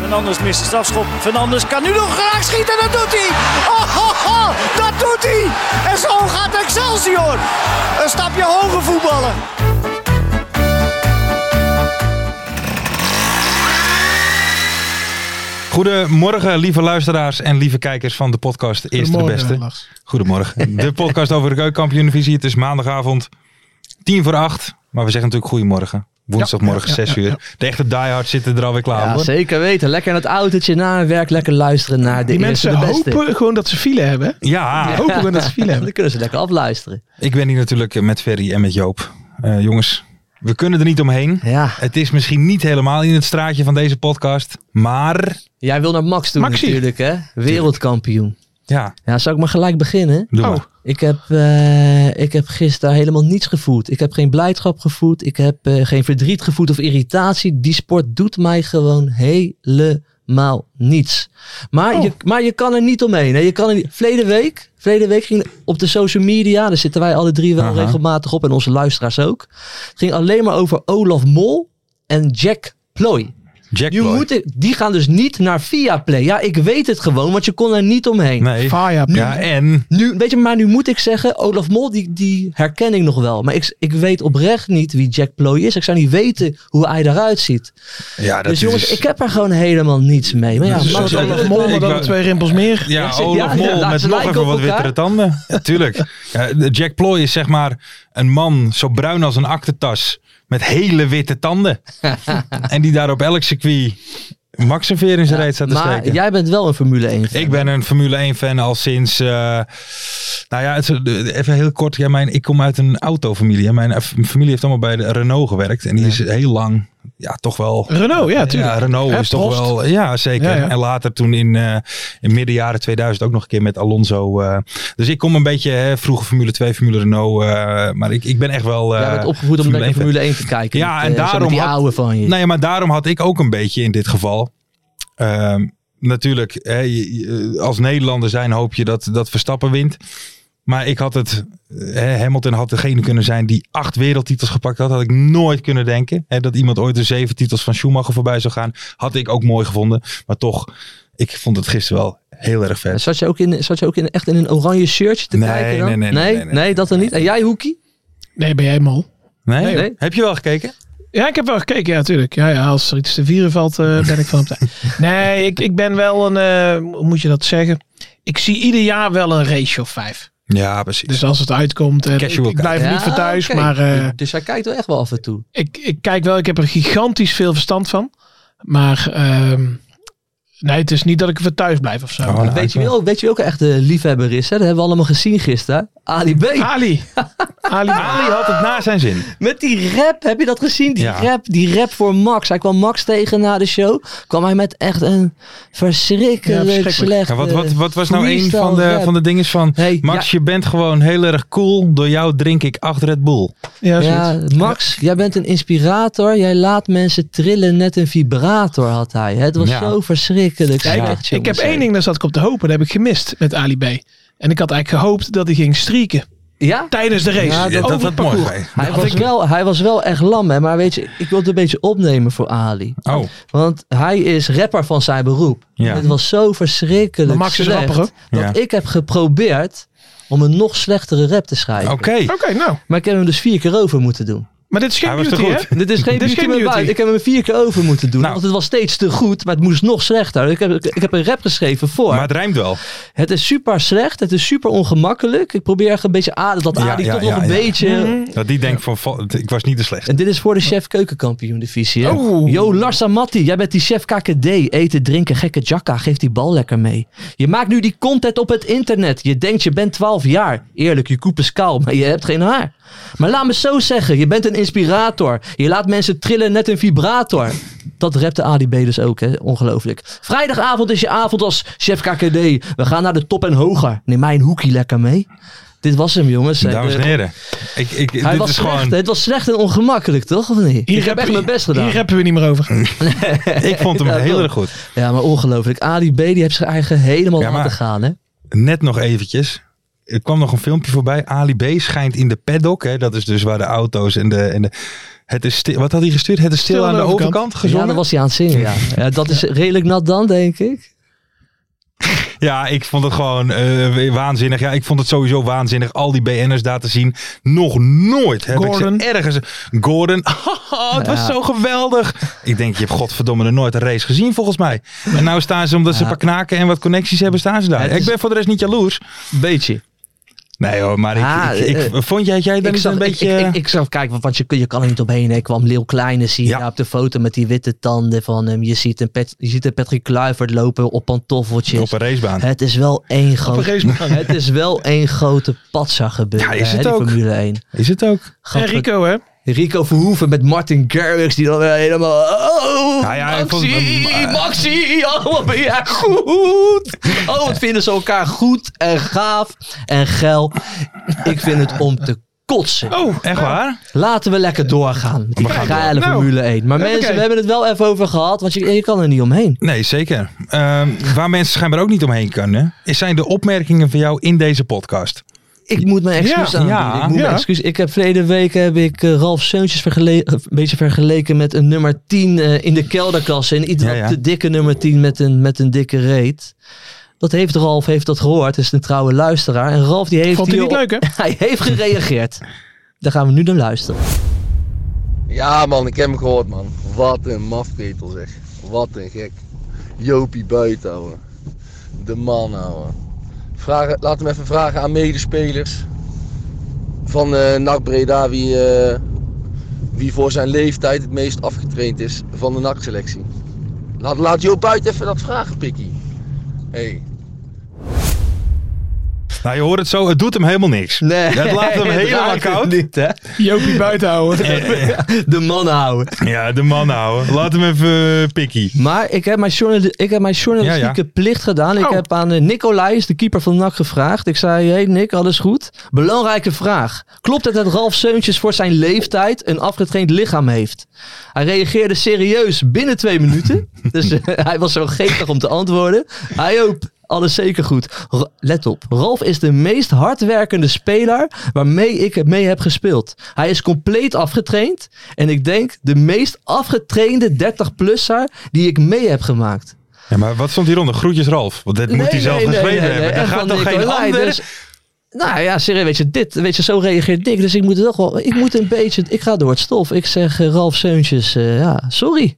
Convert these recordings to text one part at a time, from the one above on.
Fernandes mist de strafschop. Fernandes kan nu nog graag schieten. Dat doet hij. Oh, oh, oh, dat doet hij. En zo gaat Excelsior. Een stapje hoger voetballen. Goedemorgen, lieve luisteraars en lieve kijkers van de podcast Eerste de Beste. Goedemorgen. De podcast over de keukenkampioenvisie. Het is maandagavond, tien voor acht. Maar we zeggen natuurlijk goedemorgen. Woensdagmorgen, Ja, ja, zes uur. De echte diehards zitten er alweer klaar Ja, voor. zeker weten. Lekker in het autootje na hun werk, lekker luisteren naar de Die eerste, mensen de beste. hopen gewoon dat ze file hebben. hè? Ja, Hopen gewoon dat ze file Ja, dan hebben. kunnen ze lekker afluisteren. ik ben hier natuurlijk met Ferry en met Joop. Eh, jongens, we kunnen er niet omheen. Ja. Het is misschien niet helemaal in het straatje van deze podcast. Maar Jij wil naar Max toe Maxi. natuurlijk, hè? Wereldkampioen. ja, Ja, zou ik maar gelijk beginnen? doe Oh. maar. Ik heb, eh, ik heb gisteren helemaal niets gevoeld. Ik heb geen blijdschap gevoeld. Ik heb eh, geen verdriet gevoeld of irritatie. Die sport doet mij gewoon helemaal niets. Maar, Oh. je, maar je kan er niet omheen. Hè? Je kan er niet... Verleden week, verleden week ging op de social media, daar zitten wij alle drie wel Aha. regelmatig op en onze luisteraars ook. Het ging alleen maar over Olaf Mol en Jack Ploy. Jack Je Boy. moet, die gaan dus niet naar Viaplay. Ja, ik weet het gewoon, want je kon er niet omheen. Nee. Fire. Ja, en... Nu, weet je, maar nu moet ik zeggen, Olaf Mol, die, die herken ik nog wel. Maar ik, ik weet oprecht niet wie Jack Ploy is. Ik zou niet weten hoe hij eruit ziet. Ja, dat dus jongens, is... ik heb er gewoon helemaal niets mee. Maar ja, Dat Dus is Max zo- Olaf zo- Mol- Mol, maar dan Ik- twee rimpels meer. Ja, Ja, Olaf ja, Mol ja, met ze nog lijken even wat op elkaar. wittere tanden. Ja, tuurlijk. Ja, de Jack Ploy is zeg maar een man zo bruin als een aktentas. Met hele witte tanden. en die daar op elk circuit Max een veer in zijn reet staat te maar steken. jij bent wel een Formule 1 fan. Ik ben een Formule 1 fan al sinds... eh, nou ja, het, is- even heel kort. Ja, mijn, ik kom uit een autofamilie. En Mijn eh, familie heeft allemaal bij de Renault gewerkt. En die is heel lang... Ja, toch wel... Renault, ja, tuurlijk. Ja, Renault Hè, is toch Prost. wel. Ja, zeker. Ja, ja. En later toen in, eh in midden jaren 2000 ook nog een keer met Alonso. eh. dus ik kom een beetje hè, vroeger Formule 2, Formule Renault. eh, maar ik, ik ben echt wel. eh, jij bent opgevoed om lekker 1 fan. Formule 1 te kijken. Ja, Met, en eh, zo met daarom die had- oude van je. Nou ja, maar daarom had ik ook een beetje in dit geval. ehm, natuurlijk, hè, je- je- eh, als Nederlander zijn hoop je dat, dat Verstappen wint. Maar ik had het, hè, Hamilton had degene kunnen zijn die acht wereldtitels gepakt had. Had ik nooit kunnen denken. Hè, dat iemand ooit de zeven titels van Schumacher voorbij zou gaan. Had ik ook mooi gevonden. Maar toch, ik vond het gisteren wel heel erg vet. Zat je ook, in, zat je ook in, echt in een oranje shirtje te Nee, kijken dan? nee, nee, nee, nee, nee, nee, dat dan niet. En jij, Hoekie? Nee, ben jij Mol? Nee? Nee, hoor. Heb je wel gekeken? Ja, ik heb wel gekeken, ja, natuurlijk. Ja, ja, als er iets te vieren valt, eh, ben ik van op tijd. Nee, ik, ik ben wel een, eh, hoe moet je dat zeggen? Ik zie ieder jaar wel een race of vijf. Ja, precies. Dus als het uitkomt, eh, ik, Casual ik blijf er Ja, niet voor thuis, oké. maar eh, Dus hij kijkt wel echt wel af en toe. ik, ik kijk wel, ik heb er gigantisch veel verstand van. Maar ehm, nee, het is niet dat ik er voor thuis blijf of zo. Oh, nou, Weet je, ik- wie ook, weet je wie ook een echte liefhebber is? Hè? Dat hebben we allemaal gezien gisteren. Ali B. Ali. Ali. Ali had het na zijn zin. Met die rap, heb je dat gezien? Die Ja. rap, die rap voor Max. Hij kwam Max tegen na de show. Kwam hij met echt een Ja, verschrikkelijk verschrikkelijk. slecht. Ja, wat, wat, wat was nou een eh, freestyle van de, rap. van de dingen van... Hey, Max, je bent gewoon heel erg cool. Door jou drink ik acht Red Bull. Ja, ja, zoiets. ja, Max, jij bent een inspirator. Jij laat mensen trillen. Net een vibrator had hij. Het was Ja. zo verschrikkelijk. Ja, ik- slecht, ik, heb jongens. één ding, daar zat ik op te hopen. Dat heb ik gemist met Ali B. En ik had eigenlijk gehoopt dat hij ging streaken Ja? tijdens de race. Ja, dat- over dat het had parcours. mooi geweest. Hij was, wel, hij was wel echt lam, hè? maar weet je, ik wil het een beetje opnemen voor Ali. Oh, Want hij is rapper van zijn beroep. Ja. Het was zo verschrikkelijk Maar Max is slecht rapper, dat Ja. ik heb geprobeerd om een nog slechtere rap te schrijven. oké. Oké, nou. Maar ik heb hem dus vier keer over moeten doen. Maar dit is geen Hij was te beauty, goed. hè? Dit is Dus geen Dit beauty, is geen maar beauty. buiten. Ik heb hem vier keer over moeten doen. Dus Nou. Want het was steeds te goed, maar het moest nog slechter. Ik heb, ik, ik heb een rap geschreven voor. Maar het rijmt wel. Het is super slecht. Het is super ongemakkelijk. Ik probeer echt een beetje aan dat Ja, Adi ja, toch nog ja, een ja. beetje... Mm-hmm. Dat die denkt van, val- ik was niet de slechtste. En dit is voor de chef keukenkampioen divisie. Oh. Oeh. Yo, Larsa Matti, jij bent die chef KKD. Eten, drinken, gekke jakka. Geef die bal lekker mee. Je maakt nu die content op het internet. Je denkt je bent 12 jaar. Eerlijk, je koep is kaal, maar je hebt geen haar. Maar laat me zo zeggen, je bent een inspirator. Je laat mensen trillen net een vibrator. Dat repte ADB dus ook, hè? Ongelooflijk. Vrijdagavond is je avond als chef KKD. We gaan naar de top en hoger. Neem mij een hoekie lekker mee. Dit was hem, jongens. Dames en Eh, heren. Ik, ik, hij dit was is slecht, gewoon, hè? Het was slecht en ongemakkelijk, toch? Of niet? ik heb rappen- echt mijn best gedaan. Hier hebben we niet meer over. ik vond hem Ja, heel klopt. erg goed. Ja, maar ongelooflijk. Ali B die heeft zich eigen helemaal Ja, maar- laten gaan, hè? Net nog eventjes. Er kwam nog een filmpje voorbij. Ali B schijnt in de paddock. Hè, dat is dus waar de auto's en de... En de het is stil, wat had hij gestuurd? Het is stil, aan de overkant, Ja, gezongen? dan was hij aan het zingen, ja. ja dat is redelijk nat dan, denk ik. Ja, ik vond het gewoon eh, waanzinnig. Ja, ik vond het sowieso waanzinnig. Al die BN'ers daar te zien. Nog nooit heb Gordon. ik ze ergens... Gordon. Oh, het was Ja. zo geweldig. Ik denk, je hebt godverdomme nog nooit een race gezien volgens mij. En nou staan ze, omdat ze Ja. een paar knaken en wat connecties hebben, staan ze daar. Het is- Ik ben voor de rest niet jaloers. Beetje. Nee hoor, maar ik, Ah, ik, ik- eh, vond jij, jij dan Ik niet zag, een beetje... ik, ik, ik zag, kijk, want- want je, kun- je kan er niet omheen. hè. Ik kwam Leeuw Kleine zien Ja. daar op de foto met die witte tanden van hem. Je ziet een, Pat- je ziet een Patrick Kluivert lopen op pantoffeltjes. op een racebaan. Het is wel één grote... Raceman. Het is wel één grote patsa gebeuren, Ja, is hè, het die ook. Formule 1. Is het ook? En Rico, hè? Rico Verhoeven met Martin Garrix, die dan weer helemaal... Oh, Ja, ja, ik Maxi, vond het- Maxi, oh, wat ben jij goed. Oh, wat vinden ze elkaar goed en gaaf en geil. Ik vind het om te kotsen. Oh, Echt waar? Laten we lekker doorgaan met die We gaan door. geile Nou, Formule 1. Maar mensen, oké. we hebben het wel even over gehad, want je, je kan er niet omheen. Nee, zeker. Ehm, waar mensen schijnbaar ook niet omheen kunnen, is- zijn de opmerkingen van jou in deze podcast. Ik moet mijn excuus Ja, aanbieden. ja, ik moet ja. mijn excuus. Ik heb verleden week heb ik eh, Ralf Seuntjes vergele- eh, een beetje vergeleken met een nummer 10 eh, in de kelderkast. En iets Ja, wat ja. te dikke nummer 10 met een, met een dikke reet. Dat heeft Ralf heeft dat gehoord. Is een trouwe luisteraar. En Ralf die heeft Vond hij hier niet op- leuk, hè? Hij heeft gereageerd. Daar gaan we nu naar luisteren. Ja man, ik heb hem gehoord man. Wat een mafketel zeg. Wat een gek. Jopie buiten houden. De man houden. Vragen, laat hem even vragen aan medespelers van eh NAC Breda wie, eh, wie voor zijn leeftijd het meest afgetraind is van de NAC selectie. Laat, laat Joop buiten even dat vragen, Pikkie. Hey. Nou, je hoort het zo, het doet hem helemaal niks. Het laat hem helemaal raakt het koud. Niet, hè? Jopie buiten houden. De man houden. Ja, de man houden. Laat hem even eh, pikkie. Maar ik heb mijn, journali- ik heb mijn journalistieke Ja, plicht gedaan. Ik Oh. heb aan eh, Nicolais, de keeper van NAC, gevraagd. Ik zei, hey Nick, alles goed? Belangrijke vraag. Klopt het dat Ralf Seuntjes voor zijn leeftijd een afgetraind lichaam heeft? Hij reageerde serieus binnen twee minuten. dus eh, hij was zo geestig om te antwoorden. Hij ook. Alles zeker goed. R- Let op. Ralf is de meest hardwerkende speler waarmee ik het mee heb gespeeld. Hij is compleet afgetraind. En ik denk de meest afgetrainde 30-plusser die ik mee heb gemaakt. Ja, maar wat stond hieronder? Groetjes Ralf. Want dit moet hij zelf geschreven hebben. echt Daar gaat van toch geen Nicolai, ander... dus- nou ja, serieus, weet je, dit, weet je, zo reageert Nick. Dus ik moet het toch wel, ik moet een beetje, ik ga door het stof. Ik zeg eh, Ralf Seuntjes, eh, ja, sorry.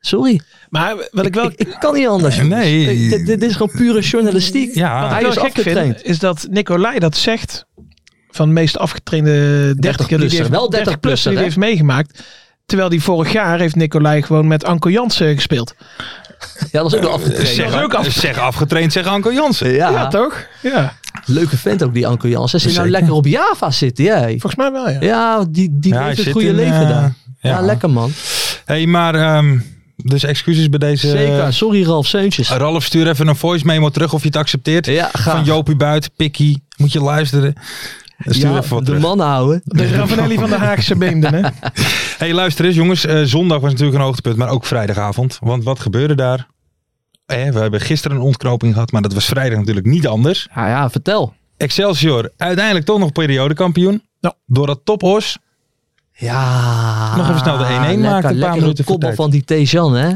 Sorry. Maar wat ik wel... Ik, ik kan niet anders. jongens. Eh, Nee. Ik- Dit, dit is gewoon pure journalistiek. Ja. Wat Hij ik is wel gek afgetraind. vind, is dat Nicolai dat zegt van de meest afgetrainde 30 30-plusser. die hij Wel heeft- 30-plusser, 30-plusser die hè? hij heeft meegemaakt. Terwijl die vorig jaar heeft Nicolai gewoon met Anko Jansen gespeeld. Ja, dat is ook Eh, wel afgetraind. Zeg, Dat is ook af- zeg afgetraind, zeg Anko Jansen. Ja, Ja, toch? Ja, leuke vent ook die Anko Jans. Hij zit nou Zeker. lekker op Java zitten, jij. volgens mij wel ja. Ja, die, die Ja, hij heeft het zit goede in, leven eh, daar. Ja. ja. lekker man. hey, maar... ehm, dus eh, excuses bij deze... eh, Zeker. Sorry Ralf Seuntjes. Ralf, stuur even een voice memo terug of je het accepteert. Ja, ga. Van Jopie Buit, Pikkie. Moet je luisteren. Stuur even wat de terug. man houden. De Ravanelli van de Haagse Beemden, hè? hey, luister eens jongens. Eh, zondag was natuurlijk een hoogtepunt, maar ook vrijdagavond. Want wat gebeurde daar? Eh, we hebben gisteren een ontknoping gehad, maar dat was vrijdag natuurlijk niet anders. Ja, ja, vertel. Excelsior uiteindelijk toch nog periodekampioen. Ja. Door dat tophos. Ja. Nog even snel de 1-1 maken, een paar Lekker, lekker minuten voor een koppel tijd. van die Tejan, hè.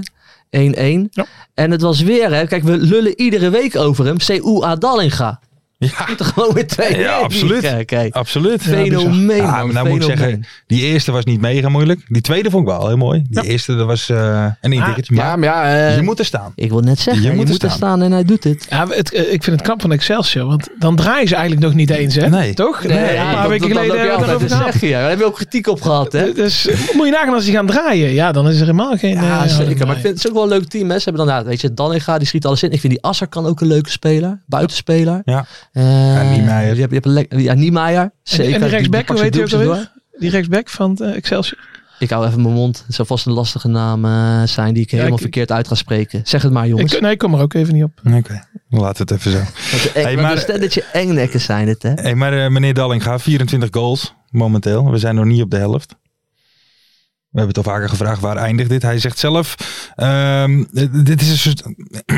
1-1. Ja. En het was weer, hè. Kijk, we lullen iedere week over hem. C.U. Adalinga. Ja, Moeten gewoon weer twee Ja, neer- absoluut. Kijk, kijk. absoluut. Fenomeen, Ja, man, maar nou moet ik fenomeen. zeggen, die eerste was niet mega moeilijk. Die tweede vond ik wel heel mooi. Die eerste dat was eh, Ah, een indikketje. Ja, Maar maar ja, eh, je moet er staan. ik wil net zeggen, je, moet, er staan. en hij doet het. Ja, het, eh, ik vind het knap van Excelsior, want dan draaien ze eigenlijk nog niet eens, hè? Nee. Toch? een paar weken geleden hebben we hebben daarover we gehad. zeggen. Ja, daar hebben we ook kritiek op gehad, hè? Dus eh, moet je nagaan als die gaan draaien. Ja, dan is er helemaal geen... eh, Ja, houding zeker. Maar bij. ik vind het is ook wel een leuk team. Hè. Ze hebben dan, ja, weet je, Dallinga, die schiet alles in. Ik vind die Asser kan ook een leuke speler. Buitenspeler. Ja. Eh, Niemeyer. Je hebt, je hebt een lek- ja, Niemeyer. Zeker. en die rechtsback, pakt hoe zijn heet die ook duels alweer? door. Die rechtsback van eh, Excelsior. Ik hou even mijn mond. Het zal vast een lastige naam eh, zijn die ik helemaal ik- verkeerd uit ga spreken. Zeg het maar, jongens. Ik, eh, nee, ik kom er ook even niet op. Oké, laat het even zo. Want de eng- Hey, want maar- een stelletje engnekken zijn het, hè? Hey, maar eh, meneer Dallinga, 24 goals momenteel. We zijn nog niet op de helft. We hebben het al vaker gevraagd, waar eindigt dit? Hij zegt zelf, ehm, dit- dit, is een soort-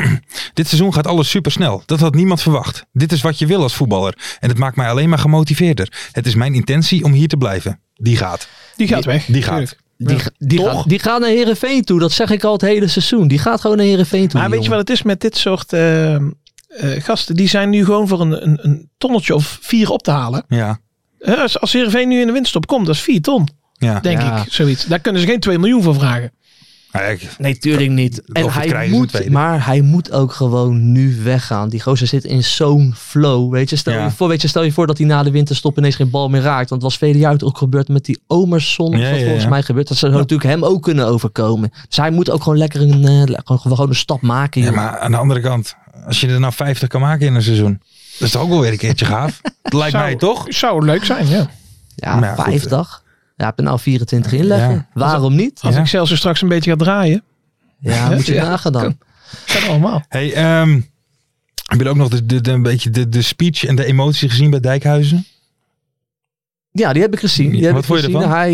dit seizoen gaat alles supersnel. Dat had niemand verwacht. Dit is wat je wil als voetballer. En het maakt mij alleen maar gemotiveerder. Het is mijn intentie om hier te blijven. Die gaat. Die gaat weg. die gaat. tuurlijk. Die, ga- die, Toch? gaat, die gaat naar Herenveen toe. Dat zeg ik al het hele seizoen. Die gaat gewoon naar Herenveen toe. Maar die weet je wat jongen. het is met dit soort eh, eh, gasten? Die zijn nu gewoon voor een, een, een tonnetje of vier op te halen. Ja, Eh, als als Heerenveen nu in de winstop komt, dat is vier ton, ja. denk Ja. ik. Zoiets. Daar kunnen ze geen 2 miljoen voor vragen. Nou ja, ik- Nee, tuurlijk niet. En Of we hij krijgen ze een moet, tweede. maar hij moet ook gewoon nu weggaan. Die gozer zit in zo'n flow. Weet je, stel, Ja. je voor, weet je, stel je voor dat hij na de winterstop ineens geen bal meer raakt. Want het was vele jaren ook gebeurd met die Omerson. Ja, wat ja, volgens ja. mij gebeurd. Dat zou natuurlijk hem ook kunnen overkomen. Dus hij moet ook gewoon lekker een, eh, le- gewoon, gewoon een stap maken. ja, joh. maar aan de andere kant, als je er nou 50 kan maken in een seizoen, dat is toch ook wel weer een keertje gaaf? Lijkt Zou- mij toch? Zou leuk zijn, ja. ja, maar ja, goed, 50. ja, heb je nou 24 inleggen? Ja. Waarom niet? Als Ja. Excelsior straks een beetje gaat draaien. Ja, moet je Ja. nagaan dan. Kan allemaal. Hey, ehm heb je ook nog de, de, de- een beetje de, de speech en de emotie gezien bij Dijkhuizen? Ja, die heb ik gezien. Die Ja, heb wat ik vond je gezien. ervan? Hij,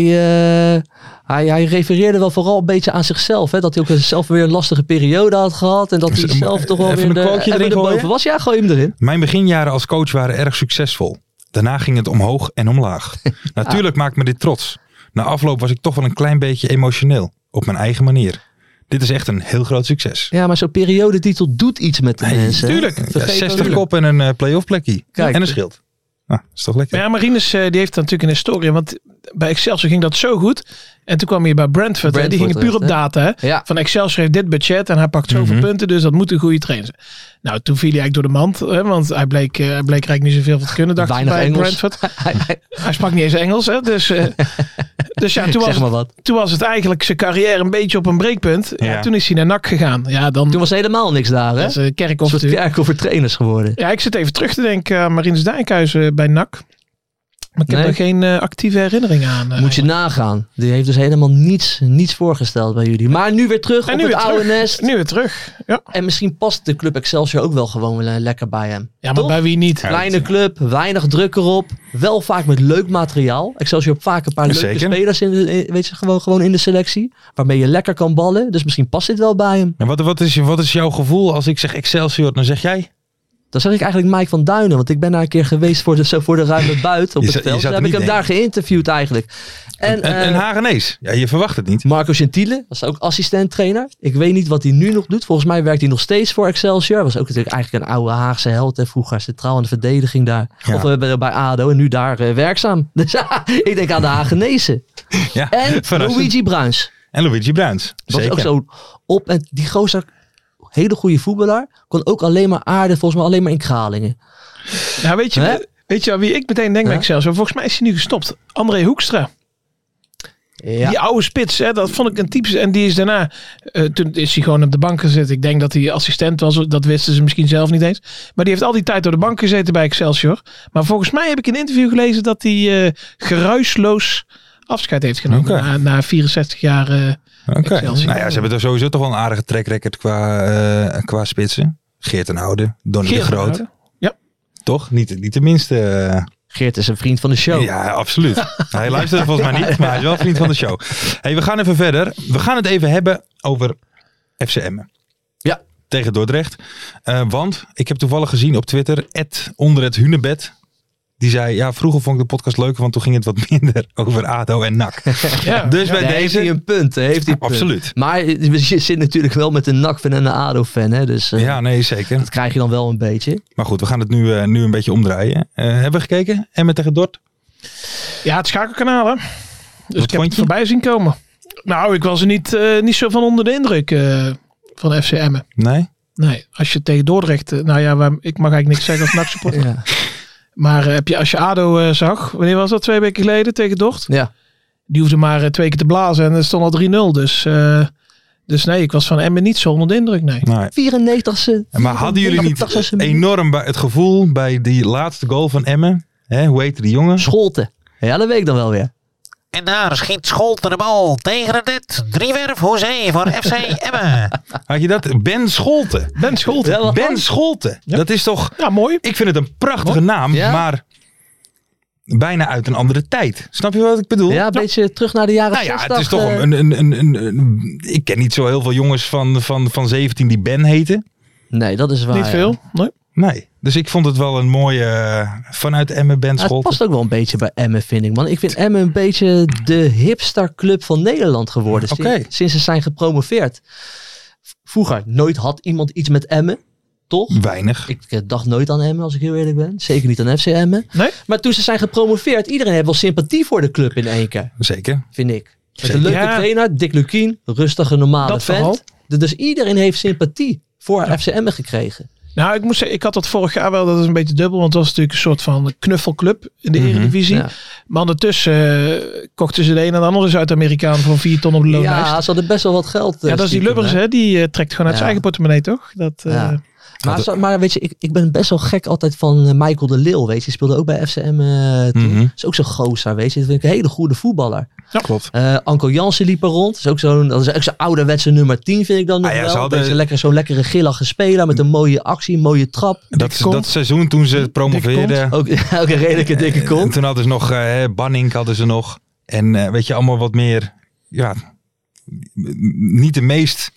eh, hij, hij refereerde wel vooral een beetje aan zichzelf. Hè? Dat hij ook zelf weer een lastige periode had gehad. En dat hij Dus, eh, zelf toch wel even weer een de, quoteje even erin erboven gooien? was. Ja, gooi hem erin. Mijn beginjaren als coach waren erg succesvol. Daarna ging het omhoog en omlaag. Natuurlijk maakt me dit trots. Na afloop was ik toch wel een klein beetje emotioneel. Op mijn eigen manier. Dit is echt een heel groot succes. Ja, maar zo'n periodetitel doet iets met de mensen. hè? Tuurlijk. Vergeet Ja, dat 60 niet. kop en een eh, play-off plekje. Kijk. en een schild. Nou, is toch lekker. Maar ja, Marinus eh, die heeft daar natuurlijk een historie. Want bij Excelsior ging dat zo goed. En toen kwam hij bij Brentford. en die Brentford gingen puur op terecht, data. Hè? Ja. Van Excelsior heeft dit budget en hij pakt zoveel Mhm. punten. Dus dat moet een goede trainer zijn. Nou, toen viel hij eigenlijk door de mand. Hè? Want hij bleek, eh, hij bleek eigenlijk niet zoveel van te kunnen. Dacht ik, Weinig bij Engels. Brentford. Hij- hij- Hij sprak niet eens Engels. Hè? Dus, eh, dus ja, toen was, zeg maar het, wat. toen was het eigenlijk zijn carrière een beetje op een breekpunt. Ja. Ja. toen is hij naar NAC gegaan. Ja, dan Toen was helemaal niks daar. Hè? dat is Een eh, Kerkhoff soort natuurlijk. kerk over trainers geworden. Ja, ik zit even terug te denken aan Marinus Dijkhuizen bij NAC. Maar ik heb Nee. er geen eh, actieve herinnering aan. eh, Moet je nagaan. Die heeft dus helemaal niets, niets voorgesteld bij jullie. Maar nu weer terug En op nu het weer oude terug. nest. Nu weer terug. Ja, En misschien past de club Excelsior ook wel gewoon eh, lekker bij hem. ja maar Toch? bij wie niet? Kleine club, weinig druk erop. Wel vaak met leuk materiaal. Excelsior heeft vaak een paar leuke Zeker. spelers in, de- in- weet je, gewoon, gewoon in de selectie. Waarmee je lekker kan ballen. Dus misschien past dit wel bij hem. En wat, wat, is, wat is jouw gevoel als ik zeg Excelsior? Dan zeg jij? Dan zeg ik eigenlijk Mike van Duinen. Want ik ben daar een keer geweest voor de, zo voor de ruime buiten op Je het zou- je veld. zou het Daar heb ik hem niet daar geïnterviewd eigenlijk. En, Een, eh, een Hagenees. Ja, je verwacht het niet. Marco Gentile was ook assistent trainer. Ik weet niet wat hij nu nog doet. Volgens mij werkt hij nog steeds voor Excelsior. Was ook natuurlijk eigenlijk een oude Haagse held. Hè. Vroeger centraal in de verdediging daar. Ja. Of eh, bij, bij ADO en nu daar eh, werkzaam. Dus ik denk aan de Hagenezen. Ja, En verrassend. Luigi Bruins. En Luigi Bruins. Dat was Zeker. ook zo op. En die gozer, hele goede voetballer. Kon ook alleen maar aarde, volgens mij alleen maar in Kralingen. Nou, weet Hè? je, weet je aan wie ik meteen denk bij Ja. Excelsior? Volgens mij is hij nu gestopt. André Hoekstra. Ja. Die oude spits, hè, dat vond ik een typische. En die is daarna, eh, toen is hij gewoon op de bank gezeten. Ik denk dat hij assistent was, dat wisten ze misschien zelf niet eens. Maar die heeft al die tijd door de bank gezeten bij Excelsior. Maar volgens mij heb ik in een interview gelezen dat hij eh, geruisloos afscheid heeft genomen. Oké. Na, na 64 jaar. eh, Oké. Excelsior. Nou ja, ze hebben er sowieso toch wel een aardige track record qua, eh, qua spitsen. Geert en Oude, Donny Geert de Groot. Oude. Ja. Toch? Niet, niet de minste. eh, Geert is een vriend van de show. Ja, absoluut. hij luistert volgens mij niet, maar hij is wel vriend van de show. hey, we gaan even verder. We gaan het even hebben over FCM. Ja. Tegen Dordrecht. Eh, want ik heb toevallig gezien op Twitter, @onder het hunebed. Die zei, ja, vroeger vond ik de podcast leuker, want toen ging het wat minder over ADO en NAC. Ja. Dus bij Ja, daar Heeft deze... hij een punt? daar Heeft hij een punt. Absoluut. Maar eh, we zi- zitten natuurlijk wel met een NAC-fan en een ADO-fan. Hè? Dus eh, Ja, nee, zeker. dat krijg je dan wel een beetje. Maar goed, we gaan het nu, eh, nu een beetje omdraaien. Eh, hebben we gekeken? Emmen tegen Dort? Ja, het schakelkanaal hè. Dus Wat ik heb vond het je? voorbij zien komen. Nou, ik was er niet, eh, niet zo van onder de indruk eh, van FC Emmen. Nee? Nee, als je tegen Dordrecht... eh, nou ja, waar- ik mag eigenlijk niks zeggen als NAC supporter. Ja. Maar eh, heb je, als je ADO eh, zag, wanneer was dat? Twee weken geleden tegen Dort? ja. Die hoefde maar eh, twee keer te blazen en er stond al 3-0. Dus, eh, dus nee, ik was van Emmen niet zo onder de indruk, nee. Nee. 94ste. Maar hadden jullie niet 84ste minuut. enorm bij- het gevoel bij die laatste goal van Emmen? Hè, hoe heette die jongen? Scholten. Ja, dat weet ik dan wel weer. En daar schiet Scholten de bal tegen het net. Driewerf Hoezee voor FC Emmen. Had je dat? Ben Scholten. Ben Scholten. Ja, wat Ben dan? Scholten. Ja. Dat is toch... Ja, mooi. Ik vind het een prachtige naam, Ja. maar bijna uit een andere tijd. Snap je wat ik bedoel? Ja, een beetje terug naar de jaren Nou ja, 60. het is toch eh, een, een, een, een, een- Ik ken niet zo heel veel jongens van, van, van 17 die Ben heten. Nee, dat is waar. niet Nou ja. veel. Nee. Nee. Dus ik vond het wel een mooie... eh, vanuit Emmen Ben Ja, het Scholten. past ook wel een beetje bij Emmen, vind ik. Man. Ik vind Emmen een beetje de hipsterclub van Nederland geworden. sin- Oké. Sinds ze zijn gepromoveerd. V- Vroeger, nooit had iemand iets met Emmen. Toch? Weinig. Ik eh, dacht nooit aan Emmen, als ik heel eerlijk ben. Zeker niet aan FC Emmen. Nee? Maar toen ze zijn gepromoveerd, iedereen heeft wel sympathie voor de club in één keer. Zeker. Vind ik. Met Zeker. een leuke Ja. trainer, Dick Lukien. Rustige, normale Dat vent. vooral. D- Dus iedereen heeft sympathie voor FC Emmen gekregen. Nou, ik moet zeggen, ik had dat vorig jaar wel, dat is een beetje dubbel, want het was natuurlijk een soort van knuffelclub in de Mhm. Eredivisie. Ja. Maar ondertussen eh, kochten ze de een en de andere Zuid-Amerikaan voor vier ton op de loonlijst. Ja, ze hadden best wel wat geld. eh, Ja, dat is die stiekem, Lubbers, hè. hè? Die eh, trekt gewoon uit Ja. zijn eigen portemonnee, toch? Dat, eh, Ja. Maar, zo- maar weet je, ik, ik ben best wel gek altijd van eh, Michael de Leeuw, weet je. Die speelde ook bij FCM eh toen. Mhm. Is ook zo'n gozer, weet je. Dat vind ik een hele goede voetballer. Klopt. Eh Anko Jansen liep er rond. Is ook zo'n, dat is ook zo'n ouderwetse nummer 10, vind ik dan nog Ah ja, ze wel. hadden- Deze lekker, zo'n lekkere gillige speler met een mooie actie, een mooie trap. Dat, kont. dat seizoen toen ze promoveerden... Ook, ook een redelijke dikke En kont. toen hadden ze nog eh Banning hadden ze nog. En eh, weet je, allemaal wat meer. Ja, m- niet de meest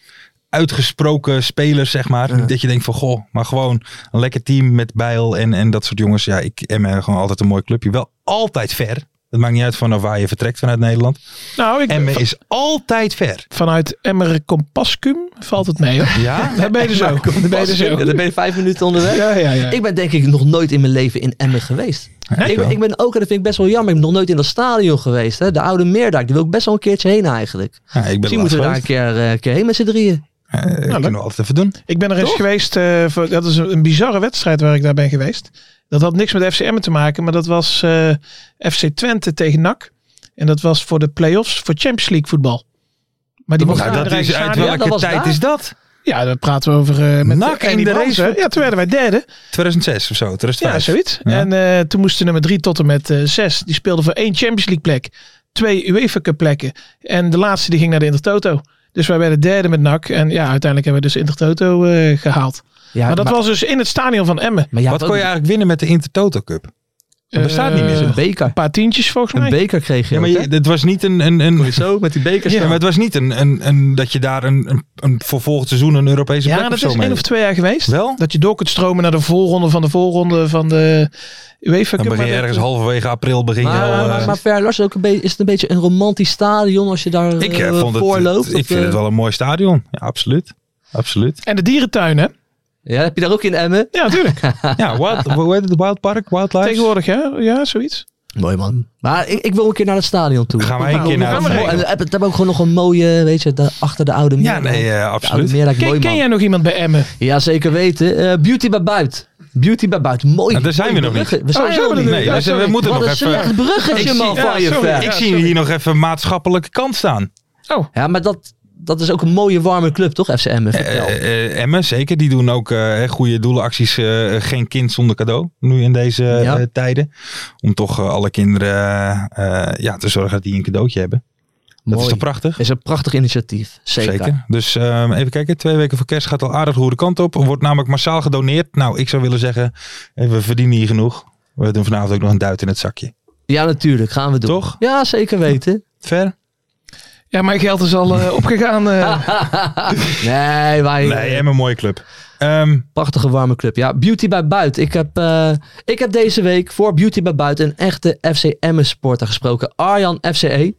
uitgesproken spelers, zeg maar. Dat je denkt van goh, maar gewoon een lekker team met Bijl en, en dat soort jongens. Ja, ik en gewoon altijd een mooi clubje. Wel altijd ver. Het maakt niet uit vanaf waar je vertrekt vanuit Nederland. Nou, ik, Emmen va- is altijd ver. vanuit Emmer Compascum valt het mee, hoor. Ja? Daar ben je er zo. Oh, Daar ben je dus? er Ja, zo. dan ben je vijf minuten onderweg. Ja, ja, ja. Ik ben denk ik nog nooit in mijn leven in Emmen geweest. ik ik, ben, wel. ik ben ook, en dat vind ik best wel jammer, ik ben nog nooit in dat stadion geweest. Hè. De oude Meerdijk, daar wil ik best wel een keertje heen eigenlijk. Ja, ik ben Misschien laatst moeten we daar een geweest. keer, eh, een keer heen met z'n drieën. Eh, kunnen we altijd even doen. Ik ben er eens Toch? geweest. eh, voor, dat is een, een bizarre wedstrijd waar ik daar ben geweest. Dat had niks met FCM te maken, maar dat was eh, FC Twente tegen NAC. En dat was voor de play-offs voor Champions League voetbal. Maar die mocht Nou, dat is, uit Ja, dat welke was tijd daar. is dat? Ja, daar praten we over eh, met NAC NAC en in de de race. race. Ja, toen werden wij derde. 2006 of zo, 2005. Ja, zoiets. Ja. En eh, toen moesten nummer drie tot en met eh, zes. Die speelden voor één Champions League plek. Twee UEFA Cup plekken. En de laatste die ging naar de Intertoto. Dus wij werden derde met NAC. En ja, uiteindelijk hebben we dus Intertoto eh, gehaald. Ja, maar dat was dus in het stadion van Emmen. maar jij Wat hebt kon je ook eigenlijk winnen met de Intertoto Cup? Dat bestaat niet meer zo. Eh, een Een beker. paar tientjes volgens Een mij. beker kreeg je. Ja, maar ook, je- hè? het was niet een... een, een zo met die bekers. Ja, maar het was niet een, een, een, dat je daar een, een, een voor volgend seizoen een Europese plek ja, dat of zo is mee één of twee jaar geweest. Wel? Dat je door kunt stromen naar de voorronde van de voorronde van de UEFA Cup. Dan begin je Maar ergens dat- halverwege april begin je Maar, al... maar, eh, maar Ver Lars, ook een beetje, is het een beetje een romantisch stadion als je daar ik eh, eh, vond het, voor loopt? ik Of, vind eh, het wel een mooi stadion. Ja, absoluut. Absoluut. En de dierentuin, hè? Ja, heb je daar ook in Emmen? Ja, natuurlijk. Ja, wild, hoe heet het? Wild Park? Wildlife? Tegenwoordig, hè? Ja, zoiets. Mooi man. Maar ik, ik wil een keer naar het stadion toe. Gaan wij een Nou, keer naar gaan het we- En stadion. we hebben hebben ook gewoon nog een mooie, weet je, daar achter de oude Ja, Meerdijk. nee, eh, de oude absoluut. Meerdijk, mooi Ken, ken man. jij nog iemand bij Emmen? Ja, zeker weten. Eh, Beauty bij Buiten. Beauty bij Buiten. Mooi. Nou, daar zijn we nog bruggen. niet. We zijn Oh, er zijn nog we er niet. nog Nee, Ja, dus we sorry. moeten Wat nog een slecht even... Ik bruggetje zie- man ja, van je sorry. Ver. Ik Ja, zie sorry. hier nog even maatschappelijke kant staan. Ja, maar dat, dat is ook een mooie warme club, toch? FC Emmen, vertel. Eh, eh, Emmen, zeker. Die doen ook eh, goede doelenacties. eh, geen kind zonder cadeau. Nu in deze Ja. eh, tijden. Om toch eh, alle kinderen eh, eh, ja, te zorgen dat die een cadeautje hebben. Dat Mooi. is toch prachtig? is een prachtig initiatief. Zeker. Zeker. Dus ehm, even kijken. Twee weken voor kerst gaat al aardig de goede kant op. Wordt namelijk massaal gedoneerd. Nou, ik zou willen zeggen, eh, we verdienen hier genoeg. We doen vanavond ook nog een duit in het zakje. Ja, natuurlijk. Gaan we doen. Toch? Ja, zeker weten. Ver? Ah. Ja, mijn geld is al eh, opgegaan. eh. Nee, wij... Nee, en een mooie club. Ehm, Prachtige warme club. Ja, Beauty bij Buit. Ik heb, eh, ik heb deze week voor Beauty bij Buit een echte FC Emmen sporter gesproken. Arjan FCE.